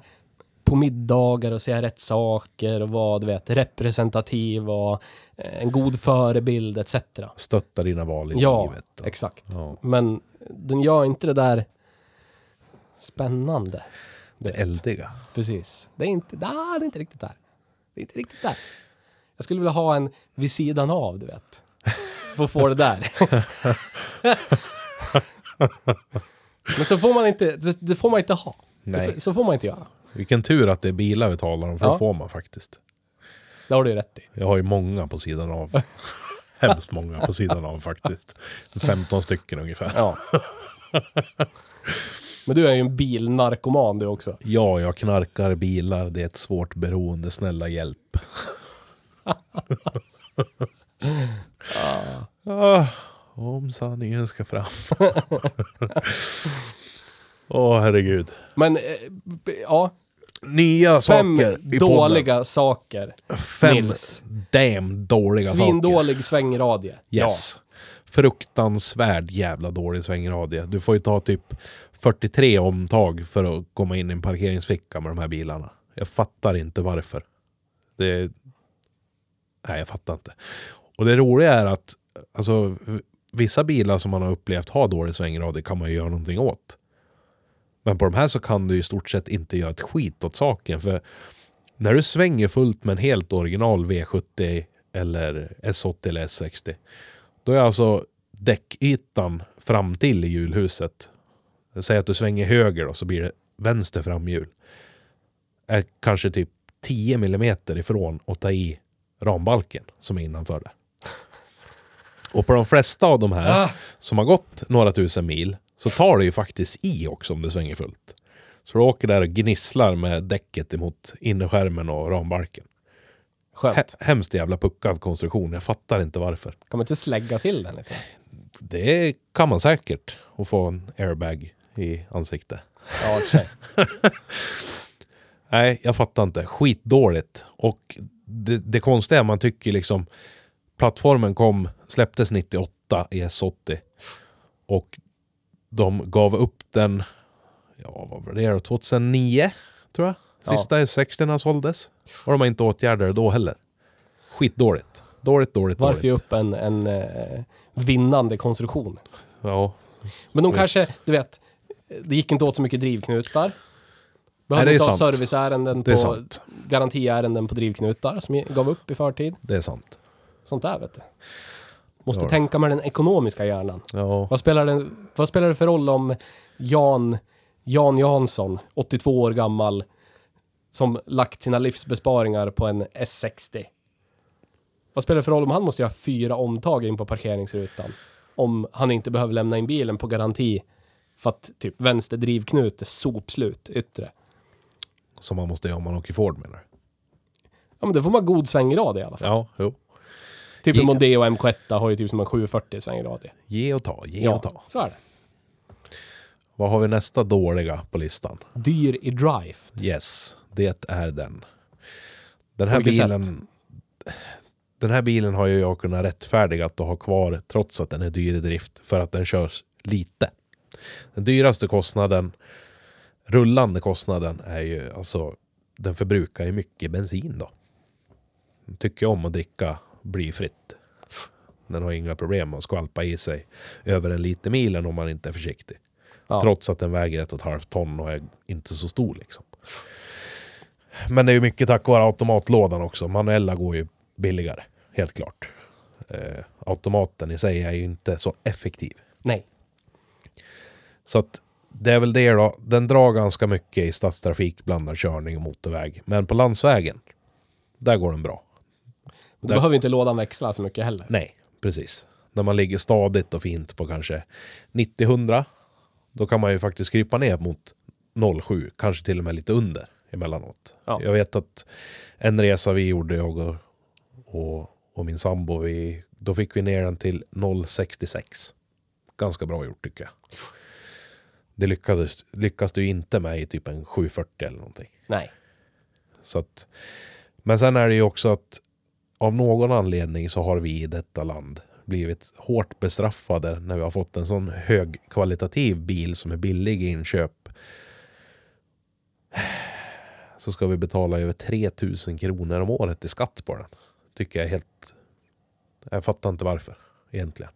på middagar och säga rätt saker och vara, du vet, representativ och eh, en god förebild etc.
Stötta dina val i
Ja,
livet.
exakt.
Ja.
Men den gör inte det där spännande.
Det eldiga.
Precis. Det är inte, nah, det är inte riktigt där. Det är inte riktigt där. Jag skulle vilja ha en vid sidan av, du vet. För att få det där. Men så får man inte, det, det får man inte ha. Det,
Nej.
får- så får man inte göra.
Vilken tur att det är bilar vi talar om, för
Ja.
det får man faktiskt.
Det har du ju rätt i.
Jag har ju många på sidan av. Hemskt många på sidan av faktiskt. 15 stycken ungefär.
Ja. Men du är ju en bilnarkoman du också.
Ja, jag knarkar bilar. Det är ett svårt beroende. Snälla hjälp. ah, om sanningen ska fram. Åh, herregud.
Men, eh, b- ja.
Nya
Fem
saker i
dåliga saker.
podden. Fem
Nils.
damn dåliga saker.
Svindålig svängradie.
Yes. Fruktansvärd jävla dålig svängradie. Du får ju ta typ 43 omtag för att komma in i en parkeringsficka med de här bilarna. Jag fattar inte varför. Det... Nej, jag fattar inte. Och det roliga är att alltså, v- vissa bilar som man har upplevt har dålig svängradie kan man ju göra någonting åt. Men på de här så kan du i stort sett inte göra ett skit åt saken. För när du svänger fullt med en helt original V70 eller S80 eller S60 då är alltså däckytan fram till i hjulhuset. Säg att du svänger höger då, så blir det vänster framhjul. Är kanske typ 10 millimeter ifrån att ta i rambalken som är innanför det. Och på de flesta av de här som har gått några tusen mil så tar det ju faktiskt i också om det svänger fullt. Så du åker där och gnisslar med däcket emot innerskärmen och rambalken.
Skönt.
He- hemskt jävla puckad konstruktion, jag fattar inte varför.
Kan man inte slägga till den lite?
Det kan man säkert. Att få en airbag i ansikte.
Ja, i och för sig.
Nej, jag fattar inte. Skitdåligt. Och det, det konstiga är, man tycker liksom... Plattformen kom, släpptes 98 i S80. Och de gav upp den, ja vad var det då, 2009 tror jag? Sista S60 såldes. Och de har inte åtgärdat det då heller. Skitdåligt. Dåligt, dåligt,
Varför ge
dåligt.
upp en, en eh, vinnande konstruktion?
Ja.
Men de
Visst.
kanske, du vet, det gick inte åt så mycket drivknutar.
det
Behövde
är
inte ha
sant.
serviceärenden
Det är
på
sant.
garantiärenden på drivknutar som jag gav upp i förtid.
Det är sant.
Sånt där vet du. Måste
Ja.
tänka med den ekonomiska hjärnan.
Ja.
Vad spelar, det, vad spelar det för roll om Jan, Jan Jansson, 82 år gammal, som lagt sina livsbesparingar på en S60? Vad spelar det för roll om han måste göra fyra omtag in på parkeringsrutan? Om han inte behöver lämna in bilen på garanti för att typ vänster drivknut är sopslut yttre.
Som man måste göra om man åker Ford menar du?
Ja men det får man god svänggrad i alla fall.
Ja, jo.
Typ
Ja.
en Mondeo M1 har ju typ som en 740 svänggrad i.
Ge och ta, ge och ta.
så är det.
Vad har vi nästa dåliga på listan?
Dyr i drift.
Yes, det är den. Den
På
här
vilket
bilen... Den här bilen har ju jag kunnat rättfärdiga att ha kvar trots att den är dyr i drift för att den körs lite. Den dyraste kostnaden, rullande kostnaden, är ju alltså den förbrukar ju mycket bensin då. Den tycker om att dricka blyfritt. Den har inga problem att skvalpa i sig över en liter milen om man inte är försiktig.
Ja.
Trots att den väger ett och ett halvt ton och är inte så stor liksom. Men det är ju mycket tack vare automatlådan också. Manuella går ju billigare, helt klart. Eh, automaten i sig är ju inte så effektiv.
Nej.
Så att det är väl det då. Den drar ganska mycket i stadstrafik, blandad körning och motorväg. Men på landsvägen, där går den bra.
Då
Där-
behöver inte lådan växla så mycket heller.
Nej, precis. När man ligger stadigt och fint på kanske 90-100, då kan man ju faktiskt krypa ner mot 07, kanske till och med lite under emellanåt.
Ja.
Jag vet att en resa vi gjorde, jag och, och, och min sambo, vi, då fick vi ner den till 0,66. Ganska bra gjort tycker jag. Det lyckades, lyckas du ju inte med i typ en 740 eller någonting.
Nej.
Så att, men sen är det ju också att av någon anledning så har vi i detta land blivit hårt bestraffade när vi har fått en sån högkvalitativ bil som är billig i inköp. Så ska vi betala över 3000 kronor om året i skatt på den. Tycker jag är helt... Jag fattar inte varför egentligen.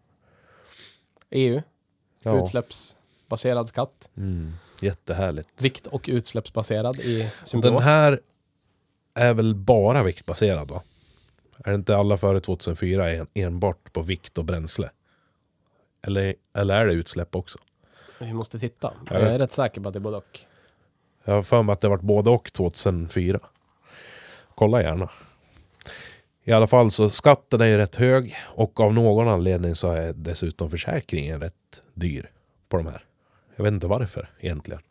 EU,
Ja,
E utsläppsbaserad skatt.
mm, jättehärligt.
Vikt och utsläppsbaserad i symbios.
Den här är väl bara viktbaserad va? Är det inte alla före 2004 en- enbart på vikt och bränsle? Eller, eller är det utsläpp också?
Vi måste titta.
Ja.
Jag är rätt säker på att det är både och.
Jag har för mig att det varit både och 2004. Kolla gärna. I alla fall så skatten är ju rätt hög och av någon anledning så är dessutom försäkringen rätt dyr på de här. Jag vet inte varför egentligen.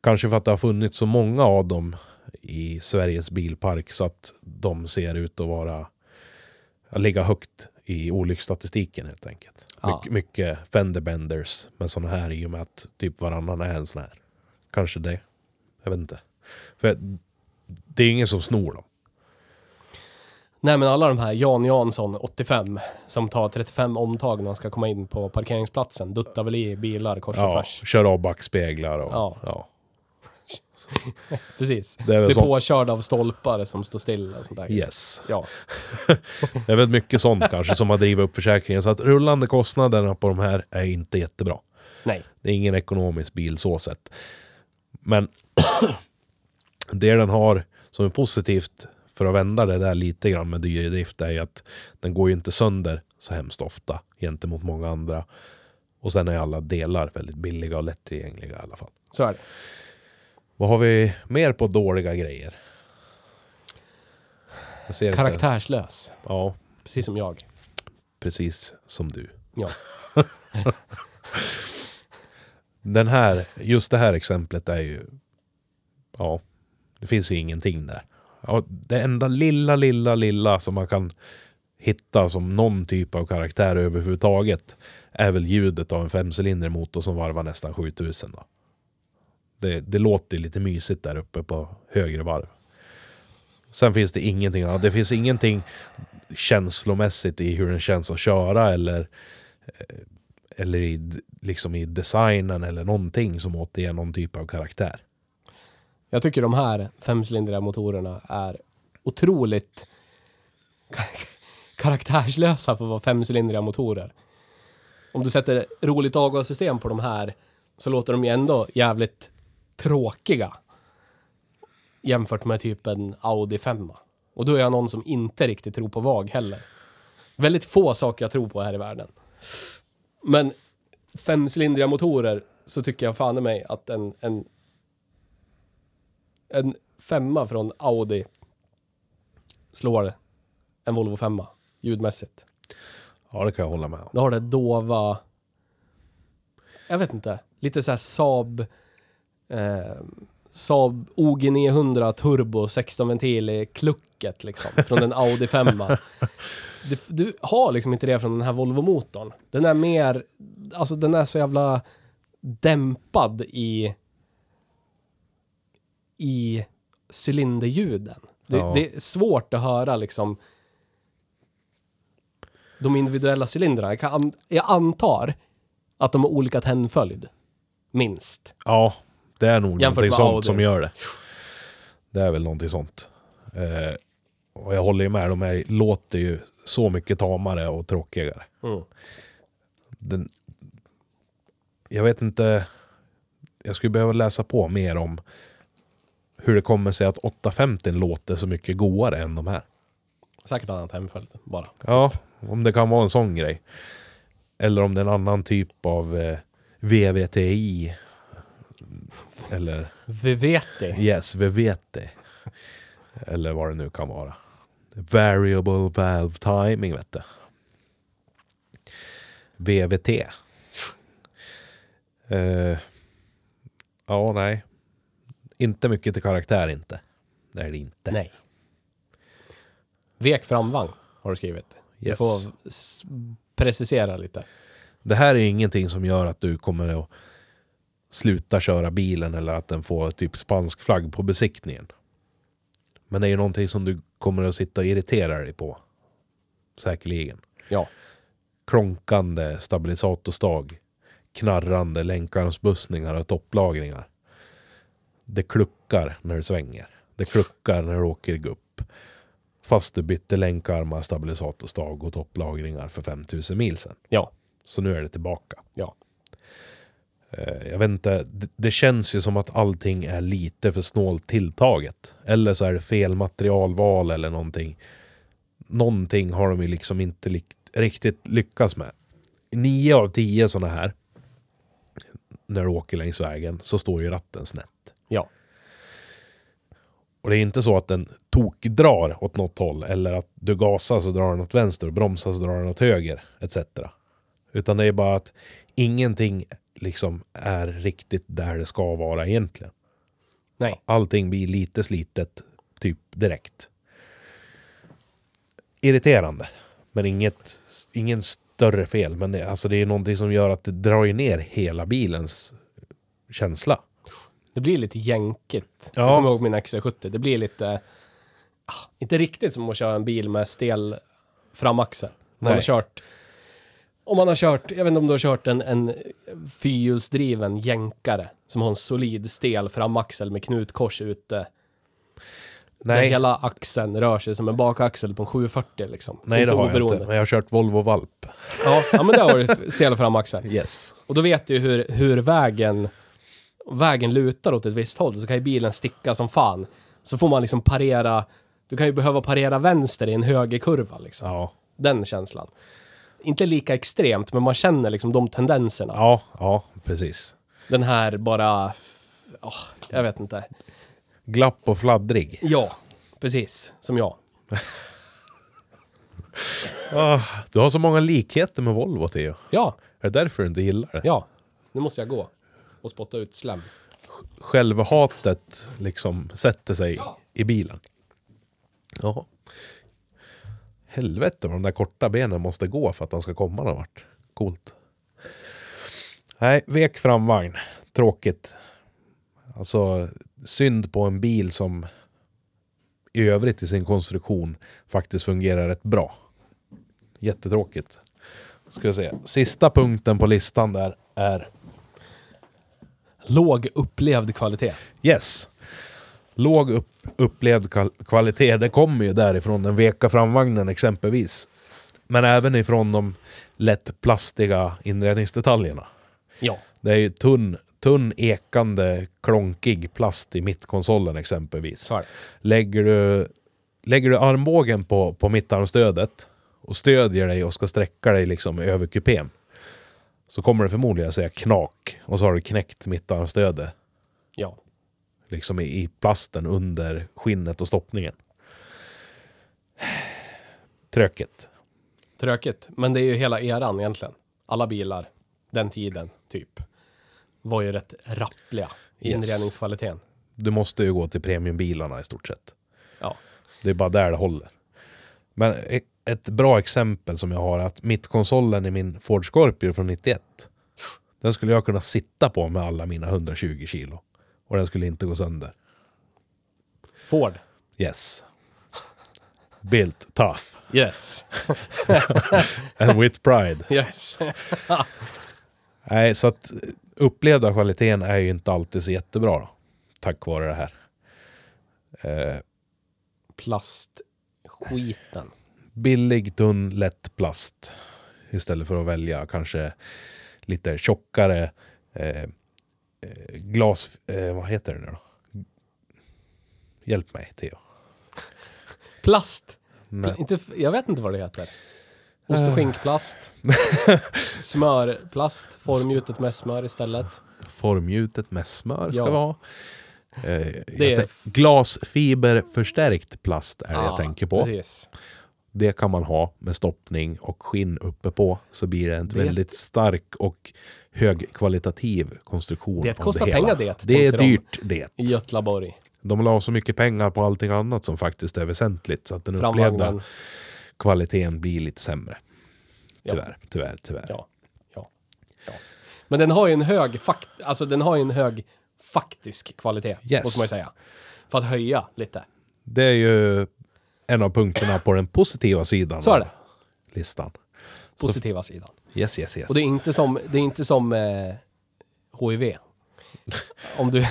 Kanske för att det har funnits så många av dem i Sveriges bilpark så att de ser ut att vara att ligga högt i olycksstatistiken helt enkelt.
Ja.
My- mycket fenderbenders men sådana här i och med att typ varannan är en sån här. Kanske det. Jag vet inte. För det är ingen som snor dem.
Nej men alla de här, Jan Jansson, 85, som tar 35 omtag när han ska komma in på parkeringsplatsen, duttar väl i bilar kors och
Ja,
tvärs.
kör av backspeglar och
Ja.
ja.
Precis.
Det är väl
Blir
sånt.
påkörd av stolpar som står stilla och sånt där.
Yes.
Ja.
Det är väl mycket sånt kanske som har drivit upp försäkringen. Så att rullande kostnaderna på de här är inte jättebra.
Nej.
Det är ingen ekonomisk bil så sett. Men det den har som är positivt för att vända det där lite grann med dyr drift är ju att den går ju inte sönder så hemskt ofta gentemot många andra. Och sen är alla delar väldigt billiga och lättillgängliga i alla fall.
Så är det.
Vad har vi mer på dåliga grejer? Jag ser inte ens.
Karaktärslös.
Ja,
Precis som jag.
precis som du.
Ja.
Den här, just det här exemplet är ju... Ja, det finns ju ingenting där. Ja, det enda lilla, lilla, lilla som man kan hitta som någon typ av karaktär överhuvudtaget är väl ljudet av en femcylindrig motor som varvar nästan 7000. Då. Det, det låter ju lite mysigt där uppe på högre varv. Sen finns det ingenting annat. Det finns ingenting känslomässigt i hur den känns att köra eller eller i, d- liksom i designen eller någonting som återger någon typ av karaktär.
Jag tycker de här femcylindriga motorerna är otroligt kar- karaktärslösa för att vara femcylindriga motorer. Om du sätter roligt avgassystem på de här så låter de ju ändå jävligt tråkiga jämfört med typ en Audi 5. Och då är jag någon som inte riktigt tror på VAG heller. Väldigt få saker jag tror på här i världen. Men femcylindriga motorer så tycker jag fan i mig att en, en en femma från Audi slår en Volvo femma ljudmässigt.
Ja, det kan jag hålla med om.
Då har det dova... Jag vet inte. Lite så här Saab... Eh, Saab OG 900 turbo 16 ventil i klucket liksom. Från en Audi 5. Du, du har liksom inte det från den här Volvo-motorn. Den är mer... Alltså den är så jävla dämpad i... I cylinderljuden. Det,
Ja.
det är svårt att höra liksom de individuella cylindrarna. Jag, kan, jag antar att de har olika tändföljd. Minst.
Ja, det är nog
Jämfört
någonting
med
sånt
Audi.
som gör det. Det är väl någonting sånt. Eh, och jag håller ju med, de här låter ju så mycket tamare och tråkigare.
Mm.
Den, jag vet inte, jag skulle behöva läsa på mer om hur det kommer sig att 850 låter så mycket godare än de här.
Säkert annan tändföljd bara.
Ja, om det kan vara en sån grej. Eller om det är en annan typ av eh, VVTI. Eller
Vi vet det.
Yes, vi vet det. Eller vad det nu kan vara. Variable Valve Timing vet du. VVT. Eh, ja, nej. Inte mycket till karaktär inte. Det är det inte.
Nej. Vek framvagn har du skrivit. Du
Yes.
får s- precisera lite.
Det här är ingenting som gör att du kommer att sluta köra bilen eller att den får typ spansk flagg på besiktningen. Men det är ju någonting som du kommer att sitta och irritera dig på. Säkerligen.
Ja.
Klonkande stabilisatorstag. Knarrande länkarmsbussningar och topplagringar. Det kluckar när du svänger. Det kluckar när du åker i gupp. Fast du bytte länkarmar, stabilisatorstag och topplagringar för 5000 mil sedan.
Ja.
Så nu är det tillbaka.
Ja.
Eh, Jag vet inte, det, det känns ju som att allting är lite för snålt tilltaget. Eller så är det fel materialval eller någonting. Någonting har de ju liksom inte lik- riktigt lyckats med. Nio av tio sådana här, när du åker längs vägen, så står ju ratten snett.
Ja.
Och det är inte så att den tokdrar åt något håll eller att du gasar så drar den åt vänster och bromsar så drar den åt höger etc. Utan det är bara att ingenting liksom är riktigt där det ska vara egentligen.
Nej.
Allting blir lite slitet typ direkt. Irriterande. Men inget, ingen större fel. Men det, alltså det är någonting som gör att det drar ju ner hela bilens känsla.
Det blir lite jänkigt.
Ja.
Jag kommer ihåg min XC70. Det blir lite... ah, Inte riktigt som att köra en bil med stel framaxel. Man har
Nej.
kört... Om man har kört, jag vet inte om du har kört en, en fyrhjulsdriven jänkare som har en solid stel framaxel med knutkors ute. Där
Nej,
hela axeln rör sig som en bakaxel på en 740 liksom.
nej det
Inte
har jag
oberoende.
inte. Men jag har kört Volvo Valp.
Ja, ja, men där har du stel framaxel.
Yes.
Och då vet du hur, hur vägen, vägen lutar åt ett visst håll, så kan ju bilen sticka som fan. Så får man liksom parera, du kan ju behöva parera vänster i en högerkurva liksom.
Ja.
Den känslan. Inte lika extremt, men man känner liksom de tendenserna.
Ja, ja, precis.
Den här bara, åh, jag vet inte.
Glapp och fladdrig.
Ja, precis, som jag.
Du har så många likheter med Volvo, Theo.
Ja,
Är det därför du inte gillar det?
ja, nu måste jag gå och spotta ut slem.
Självhatet liksom sätter sig i bilen. Ja. Helvete vad de där korta benen måste gå för att de ska komma någon vart. Coolt. Nej, vek framvagn. Tråkigt. Alltså, synd på en bil som i övrigt i sin konstruktion faktiskt fungerar rätt bra. Jättetråkigt. Ska jag säga. Sista punkten på listan där är
Låg upplevd kvalitet.
Yes. Låg upp, upplevd kal- kvalitet, det kommer ju därifrån den veka framvagnen exempelvis. Men även ifrån de lätt plastiga inredningsdetaljerna.
Ja,
Det är ju tunn, tunn ekande, klonkig plast i mittkonsolen exempelvis.
så är det.
Lägger du, lägger du armbågen på, på mittarmstödet och stödjer dig och ska sträcka dig liksom över kupén så kommer det förmodligen säga knak och så har du knäckt mittarmstödet
Ja,
liksom i, i plasten under skinnet och stoppningen. Tröket.
Tråkigt, men det är ju hela eran egentligen. Alla bilar, den tiden, typ, var ju rätt rappliga i
Yes.
inredningskvaliteten.
Du måste ju gå till premiumbilarna i stort sett.
Ja,
Det är bara där det håller. Men e- ett bra exempel som jag har är att mittkonsolen i min Ford Scorpio från 91. Den skulle jag kunna sitta på med alla mina 120 kilo. Och den skulle inte gå sönder.
Ford.
Yes. Built tough
Yes.
and with pride.
Yes.
Nej, så att upplevda kvaliteten är ju inte alltid så jättebra då, tack vare det här. Eh,
Plastskiten.
billig, tunn, lätt plast istället för att välja kanske lite tjockare eh, eh, glas... Eh, vad heter det nu då? Hjälp mig, Theo.
Plast.
Nej. Eh.
Inte, f- jag vet inte vad det heter. Ost och skinkplast. Smörplast. Formgjutet med smör istället.
Formgjutet med smör ska
Ja.
vi ha. Eh,
Det är-
jag tän- Glasfiberförstärkt plast är det
Ja,
jag tänker på.
Precis.
Det kan man ha med stoppning och skinn uppe på. Så blir det en
Det-
väldigt stark och högkvalitativ konstruktion.
Det
av
kostar
hela.
pengar det,
Det är
tänkte de.
dyrt det.
I Götlaborg.
De la så mycket pengar på allting annat som faktiskt är väsentligt. Så att den upplevda
Framvagnen.
kvaliteten blir lite sämre.
Ja.
Tyvärr, tyvärr, tyvärr.
Ja. ja. ja. Men den har ju en hög, fakt alltså, den har ju en hög faktisk kvalitet.
Yes.
Måste man ju säga. För att höja lite.
Det är ju en av punkterna på den positiva sidan
Så är det.
av listan.
Positiva sidan.
Yes, yes, yes.
Och det är inte som, det är inte som eh, HIV. Om du...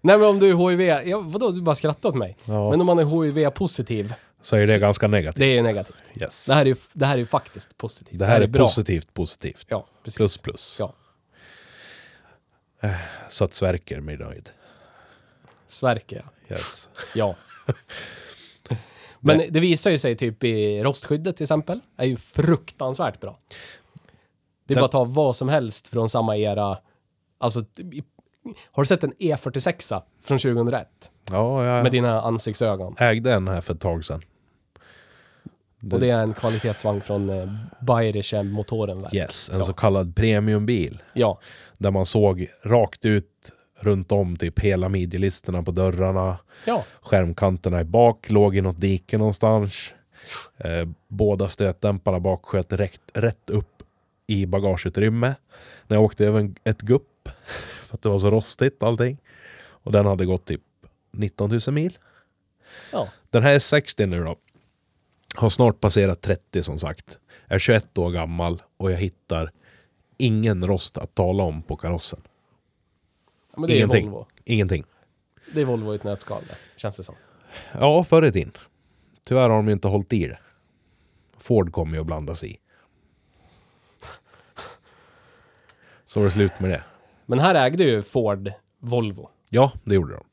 Nej men om du är HIV, ja, vadå du bara skrattar åt mig.
Ja.
Men om man är HIV-positiv,
Så är det ganska negativt.
det är ju negativt.
Yes.
Det här är ju det här är ju faktiskt positivt.
Det här är positivt, positivt.
Ja, precis.
Plus, plus.
Ja.
Så att Sverker blir nöjd.
Sverker ja.
Yes.
Ja. Men det visar ju sig typ i rostskyddet till exempel. är ju fruktansvärt bra. Det är
Den-
bara att ta vad som helst från samma era. Alltså, t- i- har du sett en E46 från 2001?
Ja, jag
Med dina ansiktsögon.
ägde en här för ett tag sedan.
Och det är en kvalitetsvagn från eh, Bayerische Motorenwerk.
Yes, en
Ja.
så kallad premiumbil.
Ja.
Där man såg rakt ut runt om typ hela midjelisterna på dörrarna.
Ja.
Skärmkanterna i bak låg i något dike någonstans. Eh, båda stötdämparna bak sköt rätt, rätt upp i bagageutrymme. När jag åkte över en, ett gupp. För att det var så rostigt allting. Och den hade gått typ 19 000 mil.
ja.
Den här är 60 nu då. Har snart passerat 30 som sagt. Är 21 år gammal och jag hittar ingen rost att tala om på karossen.
Men det är
Ingenting.
Volvo.
Ingenting.
Det är Volvo i ett nötskal där, känns det som.
Ja, förr i tiden. Tyvärr har de ju inte hållit i det. Ford kommer ju att blandas i. Så var det slut med det.
Men här ägde ju Ford Volvo.
Ja, det gjorde de.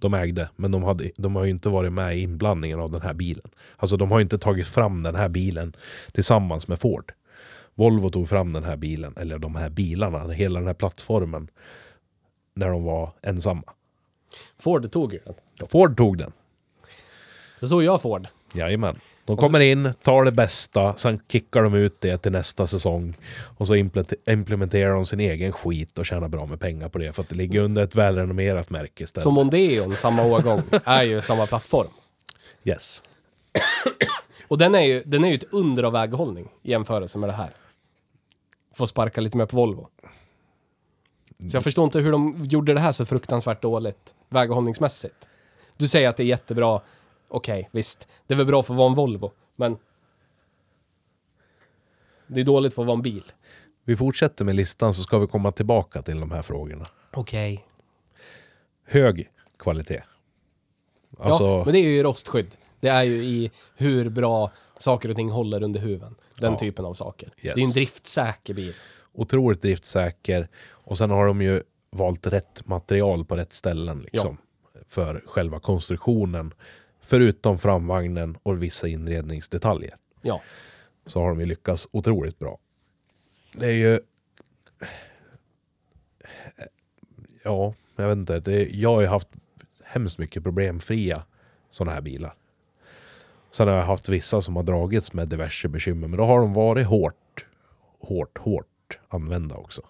De ägde, men de, hade, de har ju inte varit med i inblandningen av den här bilen. Alltså de har ju inte tagit fram den här bilen tillsammans med Ford. Volvo tog fram den här bilen, eller de här bilarna, hela den här plattformen, när de var ensamma.
Ford tog ju den.
Ford tog den.
För så gör Ford.
Jajamän. De kommer in, tar det bästa, sen kickar de ut det till nästa säsong. Och så implet- implementerar de sin egen skit och tjänar bra med pengar på det. För att det ligger under ett välrenommerat märke istället.
Så Mondeon, samma årgång, är ju samma plattform.
Yes.
Och den är ju, den är ju ett under av väghållning i jämförelse med det här. Får sparka lite mer på Volvo. Så jag förstår inte hur de gjorde det här så fruktansvärt dåligt väghållningsmässigt. Du säger att det är jättebra. Okej, visst. Det är väl bra för att vara en Volvo, men... Det är dåligt för att vara en bil.
Vi fortsätter med listan så ska vi komma tillbaka till de här frågorna.
Okej.
Hög kvalitet. Alltså,
Ja, men det är ju i rostskydd. Det är ju i hur bra saker och ting håller under huven. Den
Ja.
typen av saker.
Yes.
Det är en driftsäker bil.
otroligt driftsäker. Och sen har de ju valt rätt material på rätt ställen liksom, för själva konstruktionen. Förutom framvagnen och vissa inredningsdetaljer.
Ja.
så har de ju lyckats otroligt bra. Det är ju... Ja, jag vet inte. Det, jag har ju haft hemskt mycket problemfria sådana här bilar. Sen har jag haft vissa som har dragits med diverse bekymmer, men då har de varit hårt, hårt, hårt använda också.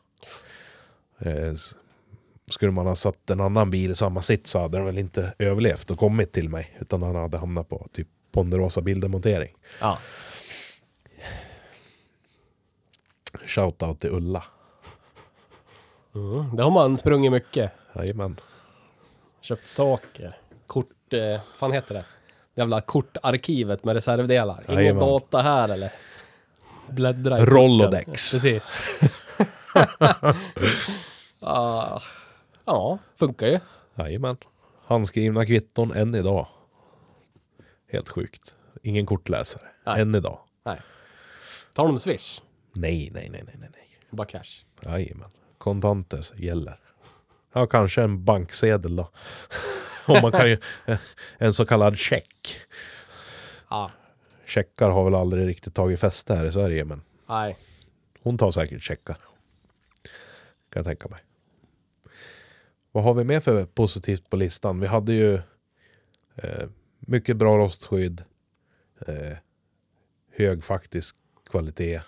Eh, s- skulle man ha satt en annan bil i samma sitt så hade den väl inte överlevt och kommit till mig, utan han hade hamnat på typ Ponderosa bildemontering.
ja.
Shoutout till Ulla.
Det Mm, har man sprungit mycket.
Jajamän.
Köpt saker. Kort... Eh, fan heter det? Det jävla kortarkivet med reservdelar. Ingen
Jajamän.
data här eller? Bläddra i
Rolodex.
korten. Precis. ah, ja, funkar ju.
Jajamän. Handskrivna kvitton än idag. Helt sjukt. Ingen kortläsare.
Nej.
Än idag.
Nej. Tar de swish?
Nej, nej, nej, nej, nej, nej.
Bara cash.
Jajamän. Kontanter gäller. Ja, kanske en banksedel då. Om man kan ju... En så kallad check.
Ja.
Checkar har väl aldrig riktigt tagit fäste här i Sverige, men
Nej.
hon tar säkert checkar. Kan jag tänka mig. Vad har vi mer för positivt på listan? Vi hade ju eh, mycket bra rostskydd. Eh, hög faktisk kvalitet.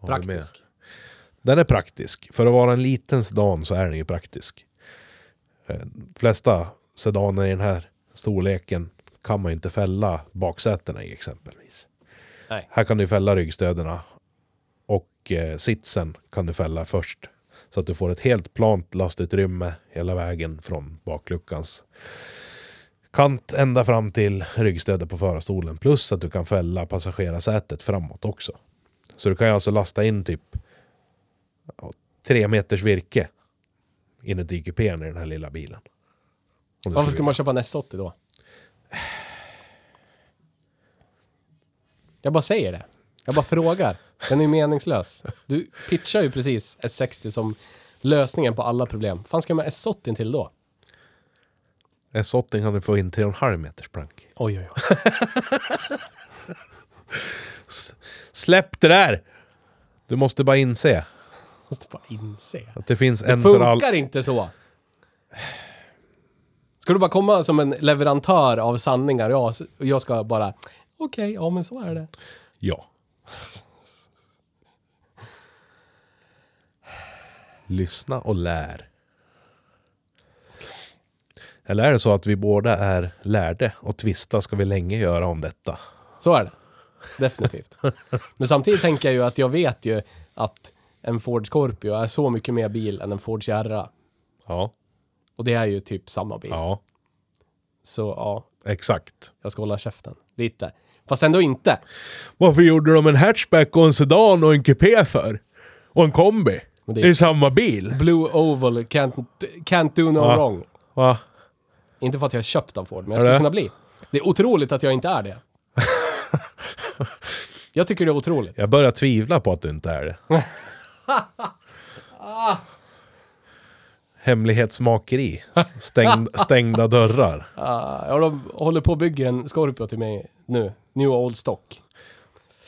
Vad har vi mer?
Praktisk.
Den är praktisk. För att vara en liten sedan så är den ju praktisk. Eh, flesta sedaner i den här storleken kan man ju inte fälla baksätena i exempelvis.
Nej.
Här kan du fälla ryggstöderna och eh, sitsen kan du fälla först. Så att du får ett helt plant lastutrymme hela vägen från bakluckans kant ända fram till ryggstödet på förarstolen. Plus att du kan fälla passagerarsätet framåt också. Så du kan ju alltså lasta in typ ja, tre meters virke inuti kupén i den här lilla bilen. Om du
Varför
skulle
ska man köpa en S80 då? Jag bara säger det. Jag bara frågar. Den är ju meningslös. Du pitchar ju precis S60 som lösningen på alla problem. fan ska man ha S80 till då?
vilja. S80 kan du få in 3,5 meters plank.
Oj, oj, oj.
Släpp det där! Du måste bara inse
Måste bara inse.
att det finns
Det
en för all...
funkar inte så. Ska du bara komma som en leverantör av sanningar och jag- och jag ska bara okej, ja men så är det.
Ja. Lyssna och lär. Eller är det så att vi båda är lärde och tvista ska vi länge göra om detta?
Så är det. Definitivt. Men samtidigt tänker jag ju att jag vet ju att en Ford Scorpio är så mycket mer bil än en Ford Sierra.
Ja.
Och det är ju typ samma bil.
Ja,
Så ja,
exakt.
jag ska hålla käften. Lite. Fast ändå inte.
Varför gjorde de en hatchback och en sedan och en kupé för? Och en kombi?
Men
Det
det
är
är-
ju samma bil.
Blue Oval can't, can't do no
Ja.
wrong.
Va?
Inte för att jag är köpt av Ford, men jag
Är
skulle
det?
kunna bli. Det är otroligt att jag inte är det. jag tycker det är otroligt.
Jag börjar tvivla på att du inte är det. Hemlighetsmakeri. Stängd, stängda dörrar.
Ah, ja, de håller på och bygger en Scorpio till mig nu. New Old Stock.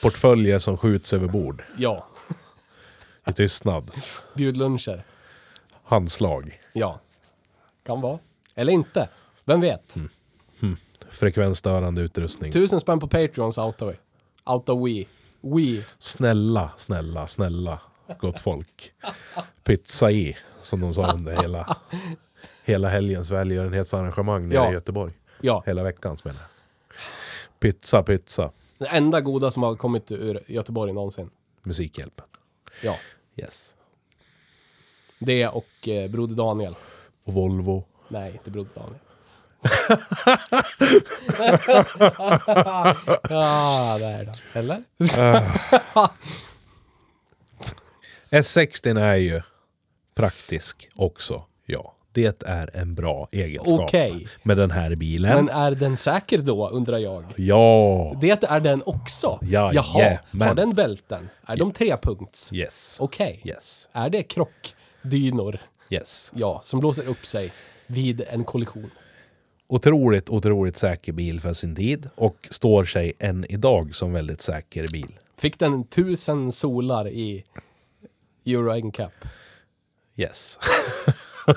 Portföljer som skjuts över bord
Ja.
i tystnad.
Bjudluncher.
Handslag.
Ja. Kan vara. Eller inte. Vem vet?
Mm. Frekvensstörande utrustning.
Tusen spänn på Patreon så outar vi. Outar we. We.
Snälla, snälla, snälla, gott folk. Pizza i, som de sa under hela, hela helgens välgörenhetsarrangemang nere
Ja.
i Göteborg.
Ja.
Hela veckans menar jag. Pizza, pizza,
Den enda goda som har kommit ur Göteborg någonsin.
musikhjälpen.
Ja.
Yes.
Det och eh, Broder Daniel.
Och Volvo.
Nej, inte Broder Daniel. ah, där då. Eller?
S60 är ju praktisk också, ja. Det är en bra egenskap
Okej.
med den här bilen.
Men är den säker då, undrar jag.
Ja,
Det är den också.
Ja,
Jaha,
jajamän.
har den bälten? Är de trepunkts?
yes.
Okej.
Yes,
Är det krockdynor?
yes.
Ja, som blåser upp sig vid en kollision.
Otroligt, otroligt säker bil för sin tid och står sig än idag som väldigt säker bil.
Fick den tusen solar i Euro NCAP.
Yes.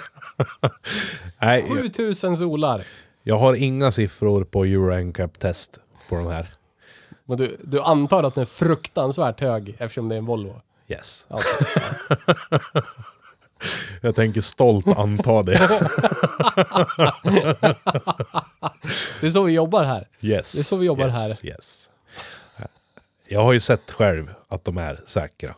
Nej, jag,
7000 solar!
jag har inga siffror på Euro NCAP-test på de här.
Men du, du antar att den är fruktansvärt hög eftersom det är en Volvo? Alltså,
Yes.
Ja,
Jag tänker stolt anta det.
det är så vi jobbar här.
Yes.
Det är så vi jobbar
yes, Yes. Jag har ju sett själv att de är säkra.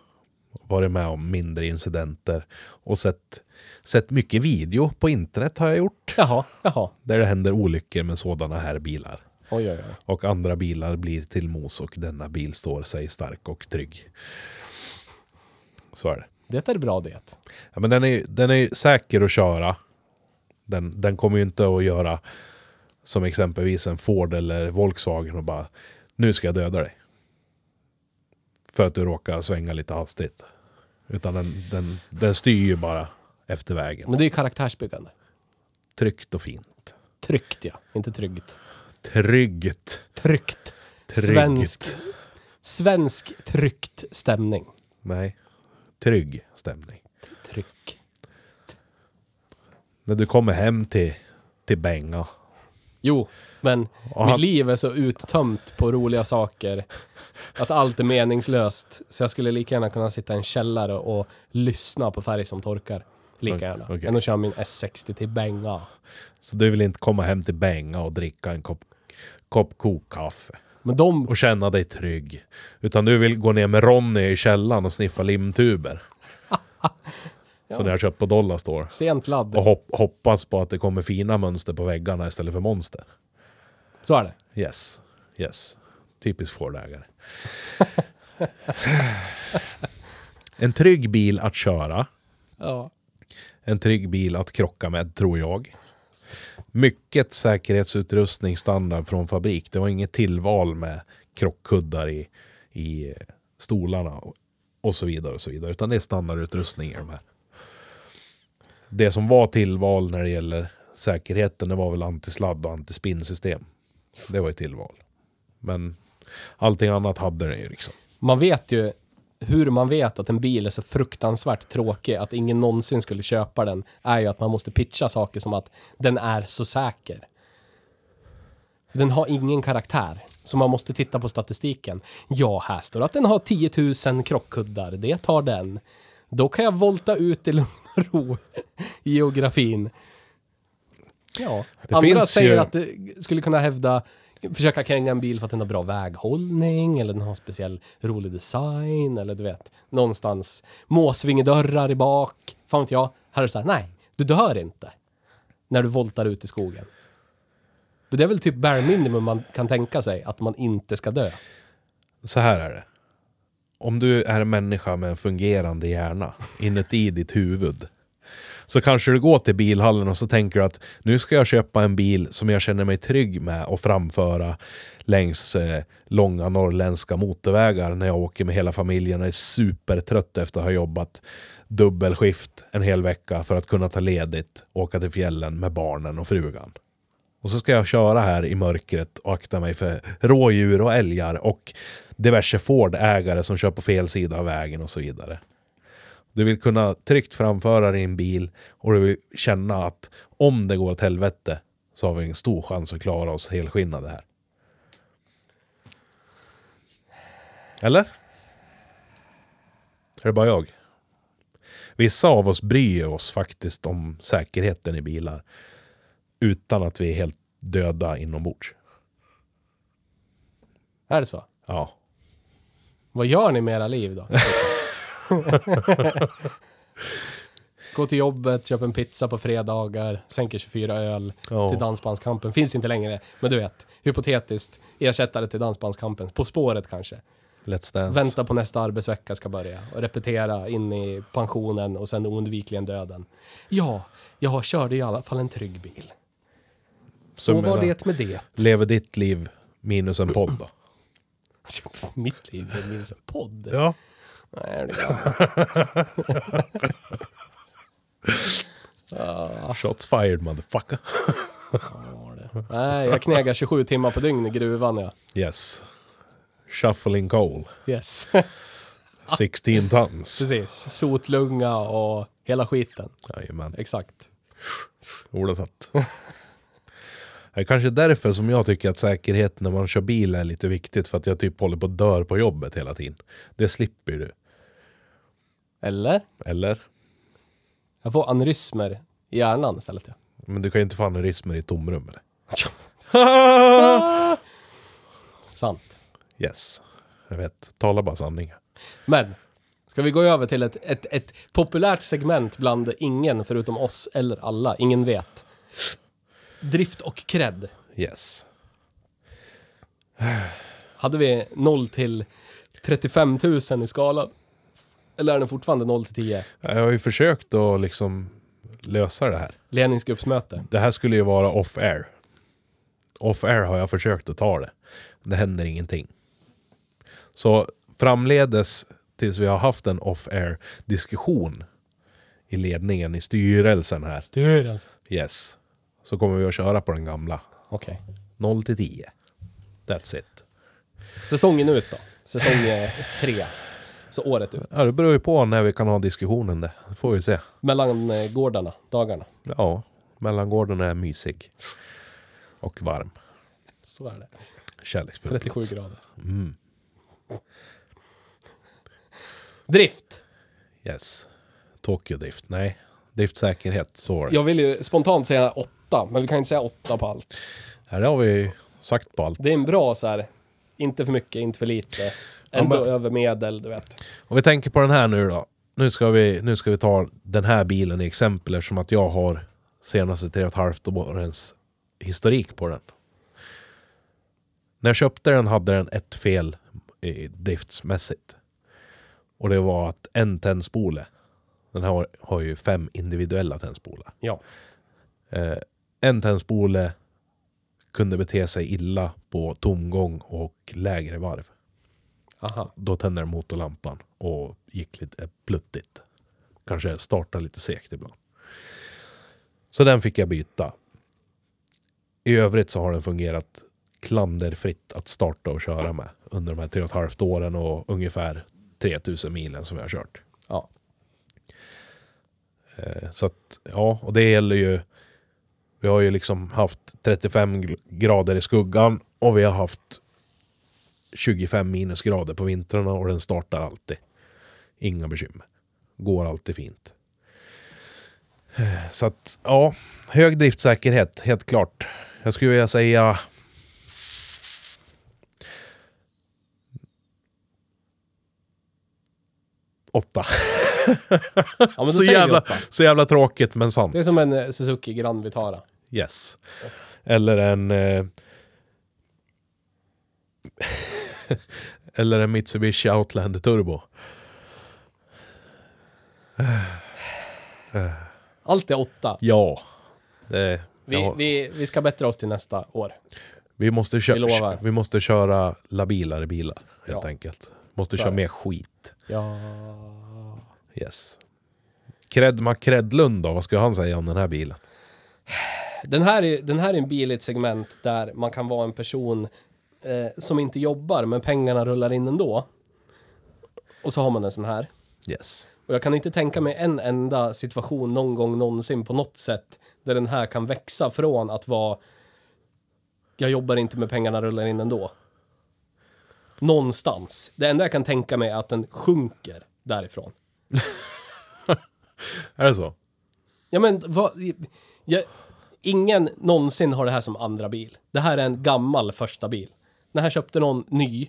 Varit med om mindre incidenter och sett, sett mycket video på internet har jag gjort.
Jaha, jaha.
Där det händer olyckor med sådana här bilar.
Oj, oj, oj.
Och andra bilar blir till mos och denna bil står sig stark och trygg. Så är det.
Det är bra det.
Ja, men den är, ju- den är ju säker att köra. Den, den kommer ju inte att göra som exempelvis en Ford eller Volkswagen och bara nu ska jag döda dig. För att du råkar svänga lite hastigt. Utan den, den, den styr ju bara efter vägen.
Men det är ju karaktärsbyggande.
Tryggt och fint.
Tryggt ja, inte tryggt.
Tryggt.
Tryggt.
Tryggt.
Svensk, svensk tryckt stämning.
Nej. Trygg stämning.
Tryck.
När du kommer hem till, till Benga.
Jo, men
Och
mitt
han,
liv är så uttömt på roliga saker att allt är meningslöst. Så jag skulle lika gärna kunna sitta i en källare och lyssna på färg som torkar. Lika
Okej,
gärna.
okej.
Än att köra min S60 till Benga.
så du vill inte komma hem till Benga och dricka en kopp, kopp kokkaffe
Men de...
och känna dig trygg. Utan du vill gå ner med Ronny i källaren och sniffa limtuber. Som ni har köpt på Dollarstore.
Sent ladd.
Och hop, hoppas på att det kommer fina mönster på väggarna istället för monster.
Så är det.
Yes, yes. Typiskt Ford-ägare. en trygg bil att köra.
Ja.
En trygg bil att krocka med, tror jag. Mycket säkerhetsutrustning standard från fabrik. Det var inget tillval med krockkuddar i, i stolarna och, och så vidare och så vidare. Utan det är standardutrustning i de här. Det som var tillval när det gäller säkerheten, det var väl antisladd och antispinnsystem. Det var ju tillval. Men allting annat hade den ju liksom.
Man vet ju hur man vet att en bil är så fruktansvärt tråkig att ingen någonsin skulle köpa den är ju att man måste pitcha saker som att den är så säker. Den har ingen karaktär. Så man måste titta på statistiken. Ja, här står det att den har 10 000 krockkuddar. Det tar den. Då kan jag volta ut i lugn och ro i geografin. Ja.
Det
Andra
finns
säger
ju-
att det skulle kunna hävda försöka kränga en bil för att den har bra väghållning eller den har speciell rolig design eller du vet någonstans måsvingedörrar i bak. Fan vet jag. Här är det så här, nej, du dör inte när du voltar ut i skogen. Men Det är väl typ bare minimum man kan tänka sig, att man inte ska dö.
Så här är det. Om du är en människa med en fungerande hjärna inuti ditt huvud så kanske du går till bilhallen och så tänker du att nu ska jag köpa en bil som jag känner mig trygg med och framföra längs eh, långa norrländska motorvägar när jag åker med hela familjen och är supertrött efter att ha jobbat dubbelskift en hel vecka för att kunna ta ledigt och åka till fjällen med barnen och frugan. Och så ska jag köra här i mörkret och akta mig för rådjur och älgar och diverse Ford-ägare som kör på fel sida av vägen och så vidare. Du vill kunna tryggt framföra din bil och du vill känna att om det går åt helvete så har vi en stor chans att klara oss helskinnade här. Eller? Är det bara jag? Vissa av oss bryr oss faktiskt om säkerheten i bilar utan att vi är helt döda inombords.
Är det så?
Ja.
Vad gör ni med era liv då? Gå till jobbet, köp en pizza på fredagar, sänker 24 öl
Ja.
till Dansbandskampen. Finns inte längre, men du vet. Hypotetiskt, ersättare till Dansbandskampen. På spåret kanske.
Let's dance.
Vänta på nästa arbetsvecka ska börja och repetera in i pensionen och sen oundvikligen döden. Ja, jag körde i alla fall en trygg bil. Så
Summera.
var det med det.
Lever ditt liv minus en podd då?
Alltså, Mitt liv är minst en podd.
Ja.
Nej, det är
Shots fired motherfucker.
bra. Nej, jag knegar 27 timmar på dygn i gruvan. Ja.
Yes. Shuffling coal.
Yes,
16 tons.
precis. Sotlunga och hela skiten.
Jajamän.
Exakt.
Ola satt. Det är kanske därför som jag tycker att säkerhet när man kör bil är lite viktigt. För att jag typ håller på att dör på jobbet hela tiden. Det slipper ju du.
Eller?
Eller?
Jag får aneurysmer i hjärnan istället. Ja.
Men du kan ju inte få aneurysmer i ett tomrum eller?
Sant.
Yes. Jag vet. Tala bara sanning.
Men, ska vi gå över till ett, ett, ett populärt segment bland ingen förutom oss eller alla. Ingen vet. Drift och cred.
Yes.
Hade vi 0 till 35 000 i skalan? Eller är den fortfarande 0 till 10?
Jag har ju försökt att liksom lösa det här.
Ledningsgruppsmöte.
Det här skulle ju vara off-air. Off-air har jag försökt att ta det. Det händer ingenting. Så framledes tills vi har haft en off-air diskussion i ledningen, i styrelsen här.
Styrelsen.
Yes. Så kommer vi att köra på den gamla.
Okej.
0 till 10. That's it.
Säsongen ut då? Säsong eh, tre. Så året ut.
Ja, det beror ju på när vi kan ha diskussionen det. Det får vi se.
Mellan eh, gårdarna, dagarna.
Ja, Mellangården är mysig. Och varm.
Så är det.
Kärleksfull
37
plats.
grader.
Mm,
Drift.
Yes. Tokyo Drift. Nej. Driftsäkerhet. Så var det.
Jag vill ju spontant säga åtta, men vi kan inte säga åtta på allt.
Här har vi sagt på allt.
Det är en bra så här, inte för mycket, inte för lite. Ändå
men-
över medel, du vet.
Om vi tänker på den här nu då. Nu ska vi, nu ska vi ta den här bilen i exempel eftersom att jag har senaste tre och ett halvt årens historik på den. När jag köpte den hade den ett fel i driftsmässigt. Och det var att en tändspole, den här har, har ju fem individuella tändspolar.
Ja.
Eh, en tändspole kunde bete sig illa på tomgång och lägre varv
Aha.
då tände den motorlampan och gick lite pluttigt. Kanske startade lite segt ibland. Så den fick jag byta. I övrigt så har den fungerat klanderfritt att starta och köra med under de här tre och ett halvt åren och ungefär 3000 milen som jag har kört.
Ja.
Eh, Så att, ja, och det gäller ju. Vi har ju liksom haft 35 gl- grader i skuggan och vi har haft 25 minusgrader på vintrarna och den startar alltid. Inga bekymmer. Går alltid fint. Eh, Så att, ja, hög driftsäkerhet, helt klart. Jag skulle vilja säga... Åtta.
ja men då
Så
säger vi
jävla,
åtta.
så jävla tråkigt men sant.
Det är som en eh, Suzuki Grand Vitara.
Yes. Eller en... Eh, eller en Mitsubishi Outlander Turbo.
Allt är åtta.
Ja. Det,
Vi,
ja.
vi, vi ska bättra oss till nästa år.
Vi måste, kö-
Vi lovar.
vi måste köra labilare bilar, helt
Ja.
enkelt. Måste
Så är
köra
det.
mer skit.
Ja.
Yes. Kred Macredlund då, vad skulle han säga om den här bilen?
Den här, är, den här är en bil i ett segment där man kan vara en person eh, som inte jobbar, men pengarna rullar in ändå. Och så har man en sån här.
Yes.
Och jag kan inte tänka mig en enda situation någon gång någonsin på något sätt där den här kan växa från att vara jag jobbar inte med pengarna rullar in ändå. Någonstans. Det enda jag kan tänka mig är att den sjunker därifrån.
Är det så?
Ja men vad, jag, ingen någonsin har det här som andra bil. Det här är en gammal första bil. Den här köpte någon ny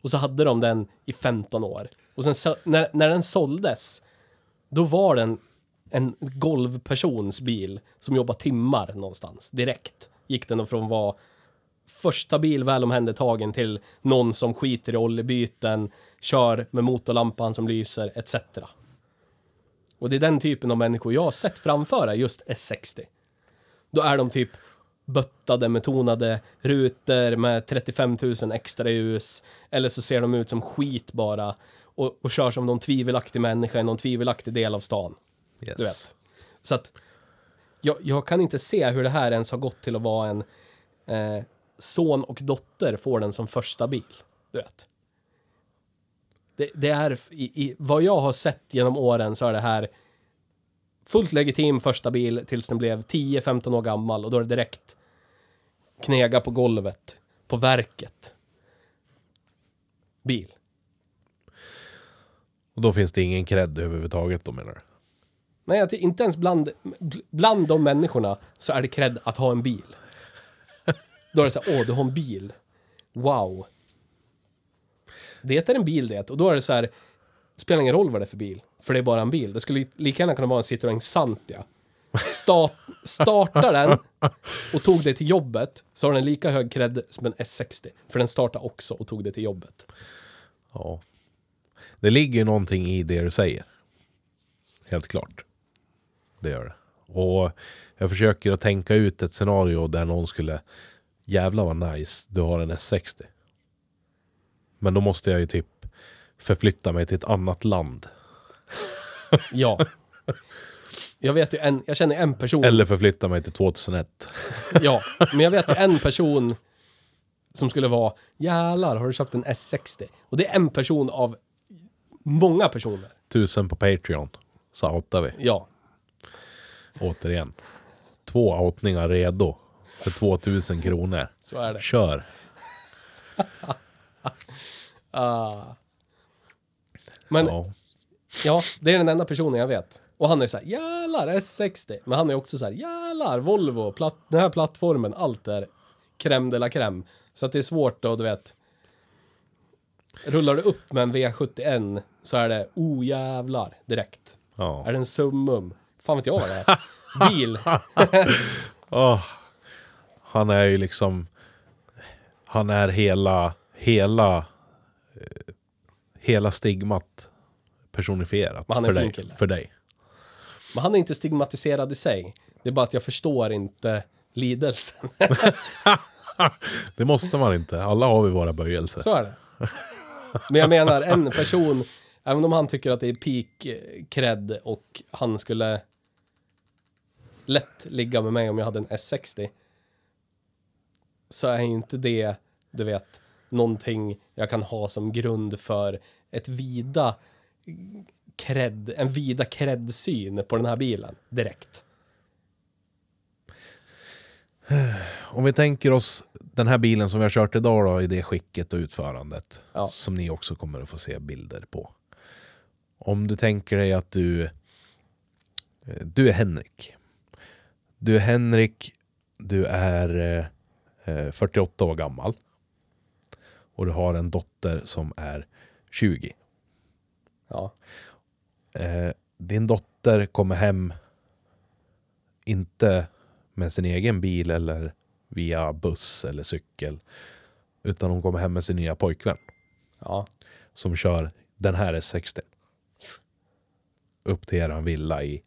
och så hade de den i 15 år. Och sen så, när, när den såldes, då var den en golvpersons bil som jobbar timmar någonstans direkt. Gick den från att vara första bil väl omhändertagen till någon som skiter i oljebyten, kör med motorlampan som lyser etc. Och det är den typen av människor jag har sett framföra just S60. Då är de typ böttade med tonade rutor med 35 000 extra ljus. Eller så ser de ut som skit bara. Och, och kör som någon tvivelaktig människa i någon tvivelaktig del av stan.
Yes.
Du vet. Så att jag, jag kan inte se hur det här ens har gått till att vara en eh, son och dotter får den som första bil. Du vet. Det, det är i, i vad jag har sett genom åren så är det här fullt legitim första bil tills den blev 10-15 år gammal och då är det direkt knega på golvet, på verket. Bil.
Och då finns det ingen cred överhuvudtaget då menar du?
Nej, att det- inte ens bland, bl- bland de människorna så är det cred att ha en bil. Då är det så här, åh, du har en bil. Wow. Det är en bil det. Och då är det så här, spelar ingen roll vad det är för bil. För det är bara en bil. Det skulle li- lika gärna kunna vara en Citroën Santia. Start, startar den och tog dig till jobbet så har den lika hög cred som en S60. För den startar också och tog dig till jobbet.
Ja. Det ligger ju någonting i det du säger. Helt klart. Det gör det. Och jag försöker att tänka ut ett scenario där någon skulle jävla vad nice, du har en S60. Men då måste jag ju typ förflytta mig till ett annat land.
Ja. Jag vet ju en, jag känner en person.
Eller förflytta mig till 2001.
Ja, men jag vet ju en person som skulle vara Jävlar, har du köpt en S60? Och det är en person av många personer.
Tusen på Patreon. Så outar vi.
Ja.
Återigen. två outningar redo för 2000 kronor.
Så är det.
Kör!
Ah. Men ja.
Ja.
det är den enda personen jag vet. Och han är så här, jävlar S60. Men han är också så här, jävlar Volvo, platt, den här plattformen, allt är crème de la crème. Så att det är svårt då, du vet. Rullar du upp med en V71 så är det, oh jävlar, direkt.
Ja.
Är det en summum? Fan vet jag vad det är. Bil.
Åh. Han är ju liksom... Han är hela... Hela... eh, Hela stigmat personifierat
Men han är
för
en fin
dig,
kille.
för dig.
Men han är inte stigmatiserad i sig. Det är bara att jag förstår inte lidelsen.
Det måste man inte. Alla har vi våra böjelser.
Så är det. Men jag menar, en person, även om han tycker att det är peak eh, cred och han skulle lätt ligga med mig om jag hade en S60. Så är ju inte det, du vet, någonting jag kan ha som grund för ett vida cred, en vida cred-syn på den här bilen direkt.
Om vi tänker oss den här bilen som vi har kört idag då, i det skicket och utförandet.
Ja.
Som ni också kommer att få se bilder på. Om du tänker dig att du... eh, Du är Henrik. Du är Henrik, du är eh, eh, 48 år gammal. Och du har en dotter som är 20.
Ja,
Eh, din dotter kommer hem inte med sin egen bil eller via buss eller cykel. Utan hon kommer hem med sin nya pojkvän
ja,
som kör den här S60. Upp till eran villa i...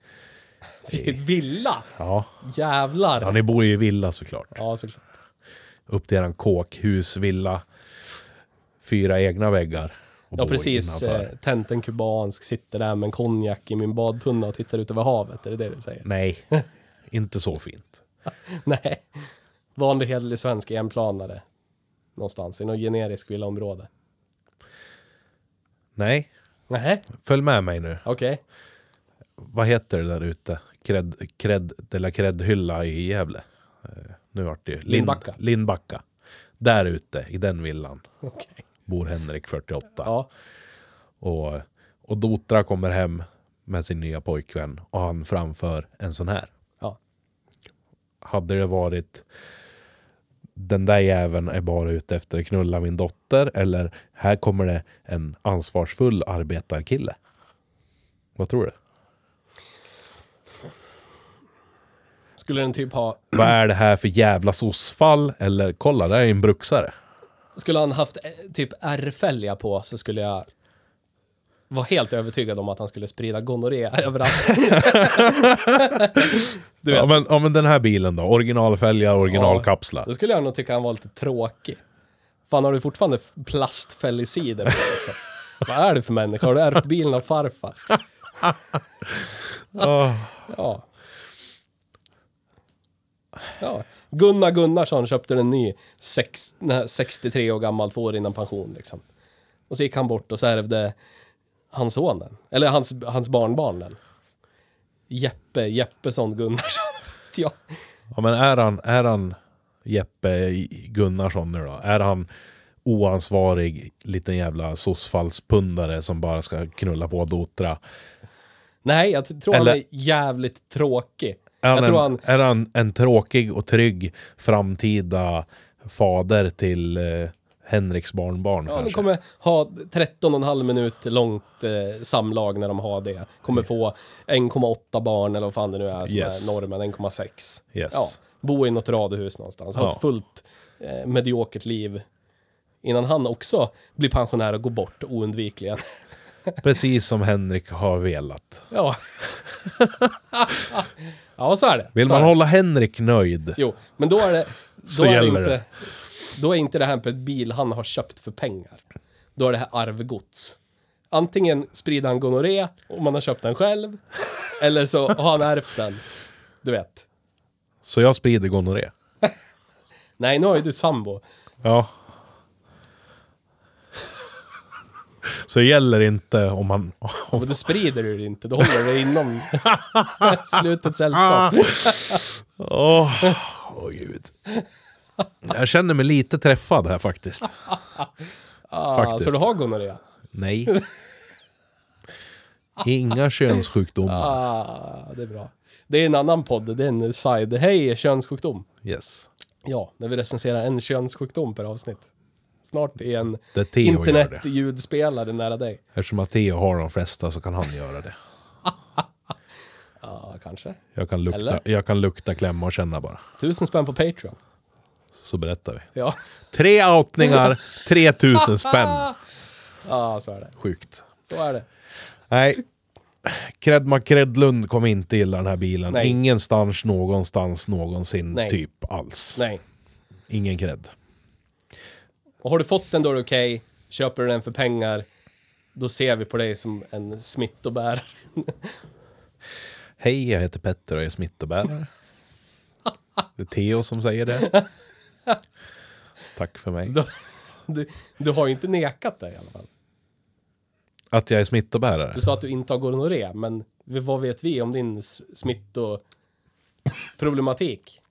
Villa!
Ja,
Jävlar!
ja ni bor ju i villa såklart.
Ja, såklart.
Upp till eran kåkhus, villa. Fyra egna väggar. och
Ja,
bor
precis.
innanför.
Eh, Tänt en kubansk, sitter där med en konjak i min badtunna och tittar ut över havet. Är det det du säger?
Nej, inte så fint.
Nej. Vanlig hederlig svensk enplanare. Någonstans i något generisk villaområde.
Nej,
Nej,
följ med mig nu.
okej.
vad heter det där ute? Cred, cred, de la cred-hylla i Gävle. Eh, Nu vart det ju- Lind-
Lindbacka.
Lindbacka. Där ute, i den villan,
Okej.
bor Henrik 48.
Ja,
Och, och Dotra kommer hem med sin nya pojkvän och han framför en sån här.
ja.
Hade det varit den där jäveln är bara ute efter att knulla min dotter eller här kommer det en ansvarsfull arbetarkille. Vad tror du?
Skulle den typ ha...
Vad är det här för jävla sossfall? Eller kolla, där är en bruksare.
Skulle han haft eh, typ ärrfälgar på så skulle jag vara helt övertygad om att han skulle sprida gonorré överallt. Du vet.
Ja men, ja men den här bilen då, originalfälgar, originalkapslar.
Då skulle jag nog tycka han var lite tråkig. Fan, har du fortfarande f- plastfällesider på dig också? Vad är det för människa? Har du ärvt bilen av farfar? Ja. ja. Gunnar Gunnarsson köpte en ny sex, nej, 63 år gammal, två år innan pension liksom. Och så gick han bort och så ärvde hans son den. Eller hans, hans barnbarn den. Jeppe, Jeppesson Gunnarsson. ja.
Ja men är han, är han Jeppe Gunnarsson nu då? Är han oansvarig liten jävla sossfallspundare som bara ska knulla på Dotra?
Nej, jag t- tror han
Eller-
är jävligt tråkig.
Är
jag
han,
tror
en,
han...
är han en tråkig och trygg framtida fader till eh, Henriks barnbarn
Ja, de
kanske?
kommer ha 13,5 minut långt eh, samlag när de har det. Kommer få 1,8 barn eller vad fan det nu är som
Yes.
är normen, 1,6.
Yes.
Ja, bo i något radhus någonstans, ha
Ja.
ett fullt eh, mediokert liv. Innan han också blir pensionär och går bort oundvikligen.
Precis som Henrik har velat.
Ja. ja, så är det.
Vill
så
man
är det.
hålla Henrik nöjd?
Jo, men då är det... Då
Så
är det
gäller
inte,
det.
Då är inte det här en bil han har köpt för pengar. Då är det här arvgods. Antingen sprider han gonorré om man har köpt den själv, eller så har han ärvt den. Du vet.
Så jag sprider gonorré.
Nej, nu har ju du sambo.
Ja. Så det gäller inte om man...
Men då sprider du det inte, då håller du det inom slutet
Ah.
sällskap.
Åh, åh, gud. Jag känner mig lite träffad här faktiskt.
Ah, så
faktiskt.
du har gonorré?
Nej. Inga könssjukdomar.
Ah, det är bra. Det är en annan podd, det är en side. Hej, könssjukdom.
Yes.
Ja, när vi recenserar en könssjukdom per avsnitt. Snart är en
Det är Theo gör det.
internetljudspelare nära dig.
Eftersom att Theo har de flesta så kan han göra det.
Ja, kanske.
Jag kan lukta,
Eller?
jag kan lukta klämma och känna bara.
Tusen spänn på Patreon.
Så berättar vi.
Ja,
Tre outningar, 3000 spänn.
ja så är det.
Sjukt.
Så är det.
Nej. Kred Macredlund kommer inte gilla den här bilen.
Nej.
Ingenstans, någonstans, någonsin,
Nej.
typ alls.
Nej.
Ingen cred.
Och har du fått den då är det okej. Köper du den för pengar, då ser vi på dig som en smittobärare.
Hej, jag heter Petter och jag är smittobärare. Det är Theo som säger det. Tack för mig.
Du, du, du har ju inte nekat det i alla fall.
Att jag är smittobärare?
Du sa att du inte har gonorré, men vad vet vi om din s- smittoproblematik?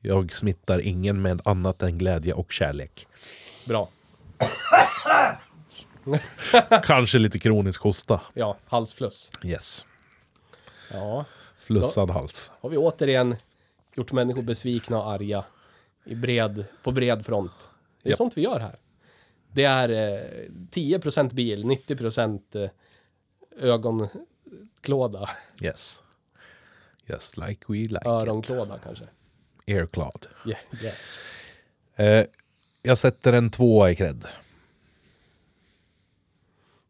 Jag smittar ingen med annat än glädje och kärlek.
Bra.
Kanske lite kronisk hosta.
Ja, halsfluss.
Yes.
Ja.
Flussad hals.
Har vi återigen gjort människor besvikna och arga i bred, på bred front. Det är
Ja.
sånt vi gör här. Det är eh, 10% bil, 90% eh, ögonklåda,
Yes. Yes, like we like it.
öronklåda kanske.
Earclad.
Ye- Yes.
Eh, jag sätter en tvåa i cred.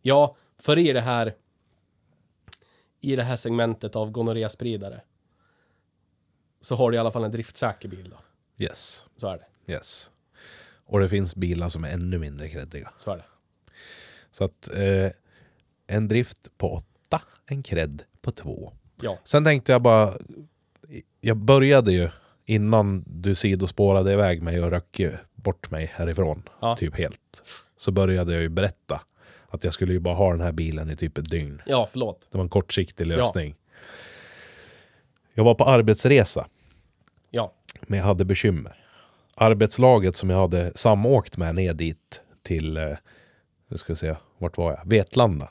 Ja, för i det här i det här segmentet av gonorréspridare så har du i alla fall en driftsäker bil då.
Yes.
Så är det.
Yes. Och det finns bilar som är ännu mindre creddiga.
Så är det.
Så att eh, en drift på åtta, en cred på två.
Ja.
Sen tänkte jag bara, jag började ju innan du sidospårade iväg mig och röck ju bort mig härifrån,
Ja.
typ helt. Så började jag ju berätta att jag skulle ju bara ha den här bilen i typ ett dygn.
Ja, förlåt.
Det var en kortsiktig lösning. Jag var på arbetsresa,
Ja.
men jag hade bekymmer. Arbetslaget som jag hade samåkt med ner dit till, eh, nu ska vi se, vart var jag? Vetlanda.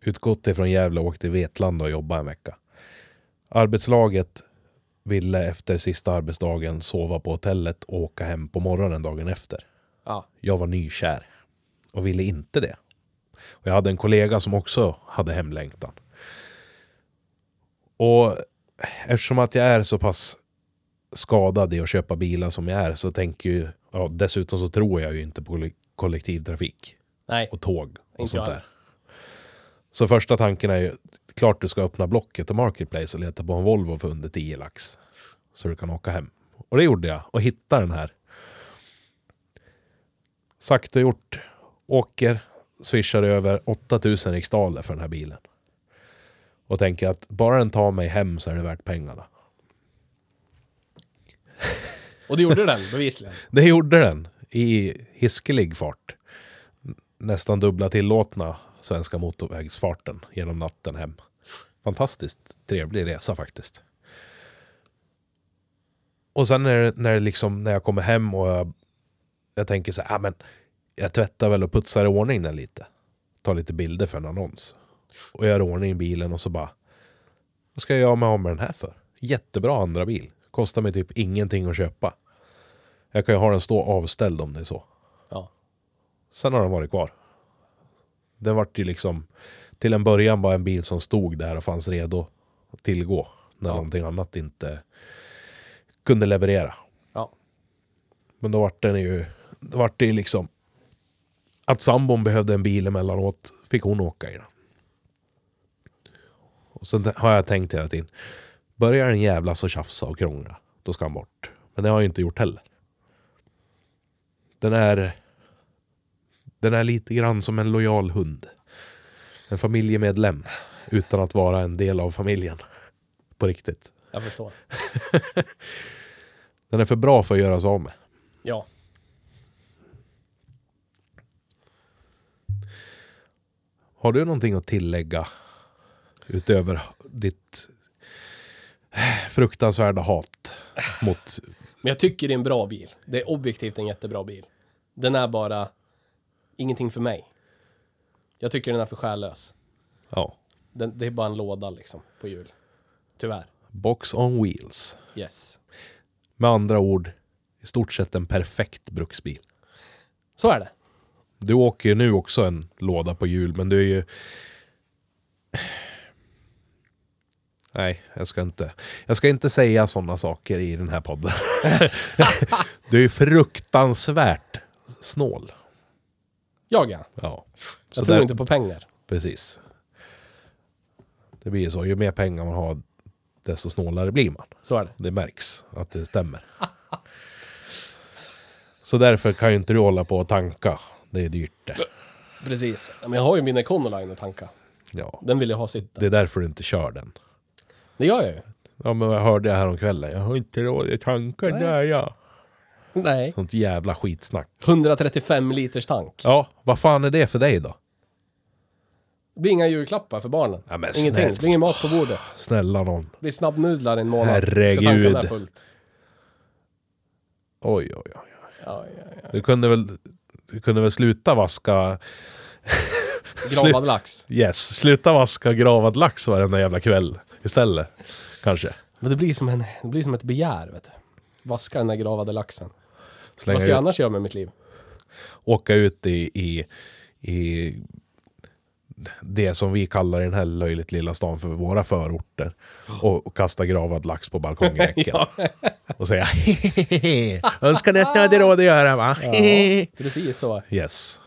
Utgått ifrån Gävle och åkt till Vetlanda och jobbade en vecka. Arbetslaget ville efter sista arbetsdagen sova på hotellet och åka hem på morgonen dagen efter.
Ja.
Jag var nykär och ville inte det. Och jag hade en kollega som också hade hemlängtan. Och eftersom att jag är så pass skadad i att köpa bilar som jag är så tänker ju, ja, dessutom så tror jag ju inte på koll- kollektivtrafik
Nej.
och tåg och
Inte
sånt
jag.
där. Så första tanken är ju, klart du ska öppna Blocket och Marketplace och leta på en Volvo för under 10 lax. Så du kan åka hem. Och det gjorde jag, och hittade den här. Sagt och gjort. Åker, swishar över 8000 riksdaler för den här bilen. Och tänker att bara den tar mig hem så är det värt pengarna.
Och det gjorde den, bevisligen.
Det gjorde den i hiskelig fart. N- Nästan dubbla tillåtna svenska motorvägsfarten genom natten hem. Fantastiskt trevlig resa faktiskt. Och sen när, det- när, det liksom, när jag kommer hem och jag, jag tänker så här, ah, men jag tvättar väl och putsar i ordning den lite. Tar lite bilder för en annons. Och gör i ordning bilen och så bara, vad ska jag göra mig av med den här för? Jättebra andra bil. Kostar mig typ ingenting att köpa. Jag kan ju ha den stå avställd om det är så.
Ja.
Sen har den varit kvar. Den vart ju liksom, till en början bara en bil som stod där och fanns redo att tillgå. När
Ja.
någonting annat inte kunde leverera.
Ja.
Men då vart den ju, då vart det ju liksom att sambon behövde en bil emellanåt fick hon åka i den. Och sen har jag tänkt hela tiden, börjar den jävlas och tjafsa och krångla, då ska han bort. Men det har jag inte gjort heller. Den är, den är lite grann som en lojal hund. En familjemedlem, utan att vara en del av familjen. På riktigt.
Jag förstår.
Den är för bra för att göras av med.
Ja.
Har du någonting att tillägga utöver ditt eh, fruktansvärda hat mot...
Men jag tycker det är en bra bil. Det är objektivt en jättebra bil. Den är bara ingenting för mig. Jag tycker den är för själlös.
Ja.
Den, det är bara en låda liksom på hjul. Tyvärr.
Box on wheels.
Yes.
Med andra ord, i stort sett en perfekt bruksbil.
Så är det.
Du åker ju nu också en låda på hjul, men du är ju... Nej, jag ska inte. Jag ska inte säga sådana saker i den här podden. du är ju fruktansvärt snål.
Jag ja.
Ja,
Jag
Så
tror
där-
inte på pengar.
precis. Det blir ju så. Ju mer pengar man har, desto snålare blir man.
Så är det.
Det märks att det stämmer. Så därför kan ju inte du hålla på och tanka. Det är dyrt det.
Precis. Men jag har ju min Econoline att tanka.
Ja.
Den vill jag ha sitta.
Det
Det,
är därför du inte kör den.
gör jag ju.
Ja men jag hörde jag häromkvällen. Jag har inte råd att tanka den där ja.
Nej.
Sånt jävla skitsnack.
135 liters tank.
Ja, vad fan är det för dig då?
Det blir inga julklappar för barnen.
Ja, men
Ingenting.
snällt.
Det blir ingen mat på bordet.
Snälla någon.
Det blir snabbnudlar i en månad. Ska tanka den
Herregud.
där fullt.
Oj oj oj.
Ja, ja, ja.
Du kunde väl, du kunde väl sluta vaska...
Gravad lax.
Yes, sluta vaska gravad lax varenda jävla kväll istället. Kanske.
Men det blir, som en, det blir som ett begär, vet du. Vaska den där gravade laxen. Vad ska jag
Slänga ut,
annars göra med mitt liv?
åka ut i, i, i det som vi kallar i den här löjligt lilla stan för våra förorter. Och, och kasta gravad lax på balkongjäkeln. Och säga Önskar ni att ni hade råd att göra va?
Precis så.
yes.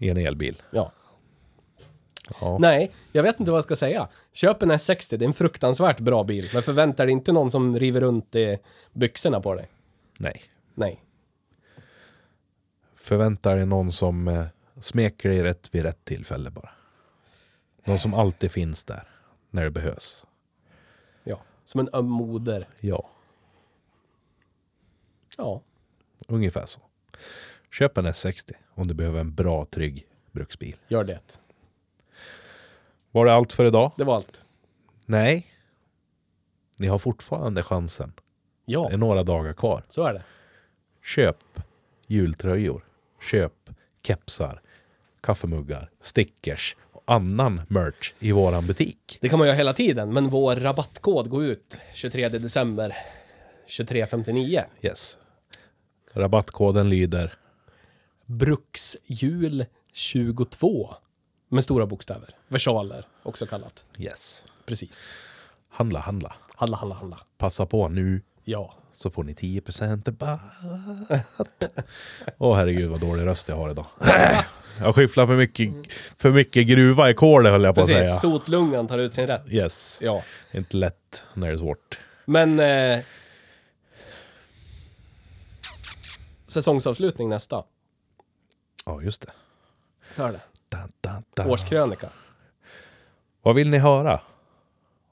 I en elbil.
Ja.
Ja.
Nej, jag vet inte vad jag ska säga. Köp en S60, det är en fruktansvärt bra bil. Men förvänta dig inte någon som river runt i byxorna på dig.
Nej.
Nej.
Förväntar dig någon som eh, smeker dig rätt vid rätt tillfälle bara. Någon som alltid finns där när det behövs.
Ja. Som en öm moder.
Ja,
Ja.
ungefär så. Köp en S60 om du behöver en bra, trygg bruksbil.
Gör det.
Var det allt för idag?
Det var allt.
Nej. Ni har fortfarande chansen.
Ja,
Det är några dagar kvar.
så är det.
Köp jultröjor. Köp kepsar, kaffemuggar, stickers och annan merch i våran butik.
Det kan man göra hela tiden, men vår rabattkod går ut 23 december 2359.
Yes. Rabattkoden lyder
Bruksjul22 med stora bokstäver. Versaler, också kallat.
Yes.
Precis.
Handla, handla.
Halla, halla, halla.
Passa på nu
Ja.
så får ni 10% rabatt. Åh herregud vad dålig röst jag har idag. Jag skyfflar för mycket, för mycket gruva i kolet höll jag på att säga.
Precis. Sotlungan tar ut sin rätt.
Yes.
Ja.
Inte lätt när det är svårt.
Men... Eh, säsongsavslutning nästa.
Ja, just det.
Så är det.
Dun, dun, dun.
Årskrönika.
Vad vill ni höra?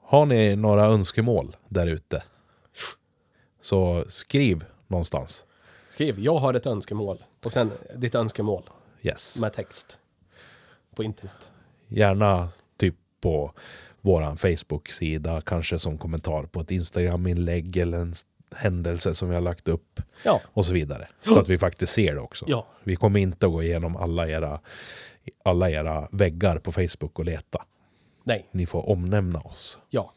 Har ni några önskemål där ute? Så skriv någonstans.
Skriv, jag har ett önskemål. Och sen ditt önskemål
Yes.
med text. På internet.
Gärna typ på våran Facebook-sida, kanske som kommentar på ett Instagram-inlägg eller en s- händelse som vi har lagt upp
Ja.
och så vidare. Så att vi faktiskt ser det också.
Ja.
Vi kommer inte att gå igenom alla era, alla era väggar på Facebook och leta.
Nej.
Ni får omnämna oss.
Ja.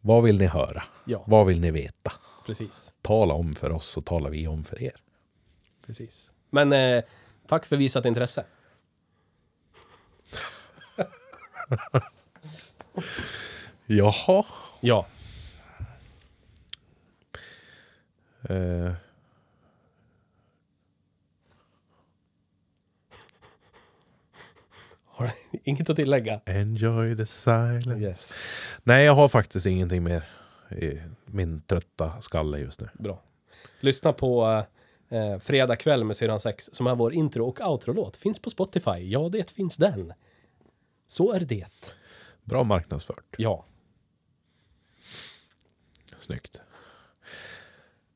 Vad vill ni höra?
Ja.
Vad vill ni veta?
Precis.
Tala om för oss så talar vi om för er.
Precis. Men eh, tack för visat intresse.
Jaha.
Ja.
Eh.
Har du inget att tillägga?
Enjoy the silence.
Yes.
Nej, jag har faktiskt ingenting mer i min trötta skalle just nu.
Bra. Lyssna på eh, Fredag kväll med syrran 6 som är vår intro och outro-låt. Finns på Spotify. Ja, det finns den. Så är det.
Bra marknadsfört.
Ja.
Snyggt.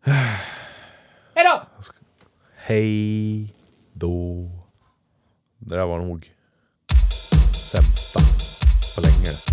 Hej då!
Hej då. Det där var nog sämsta på länge.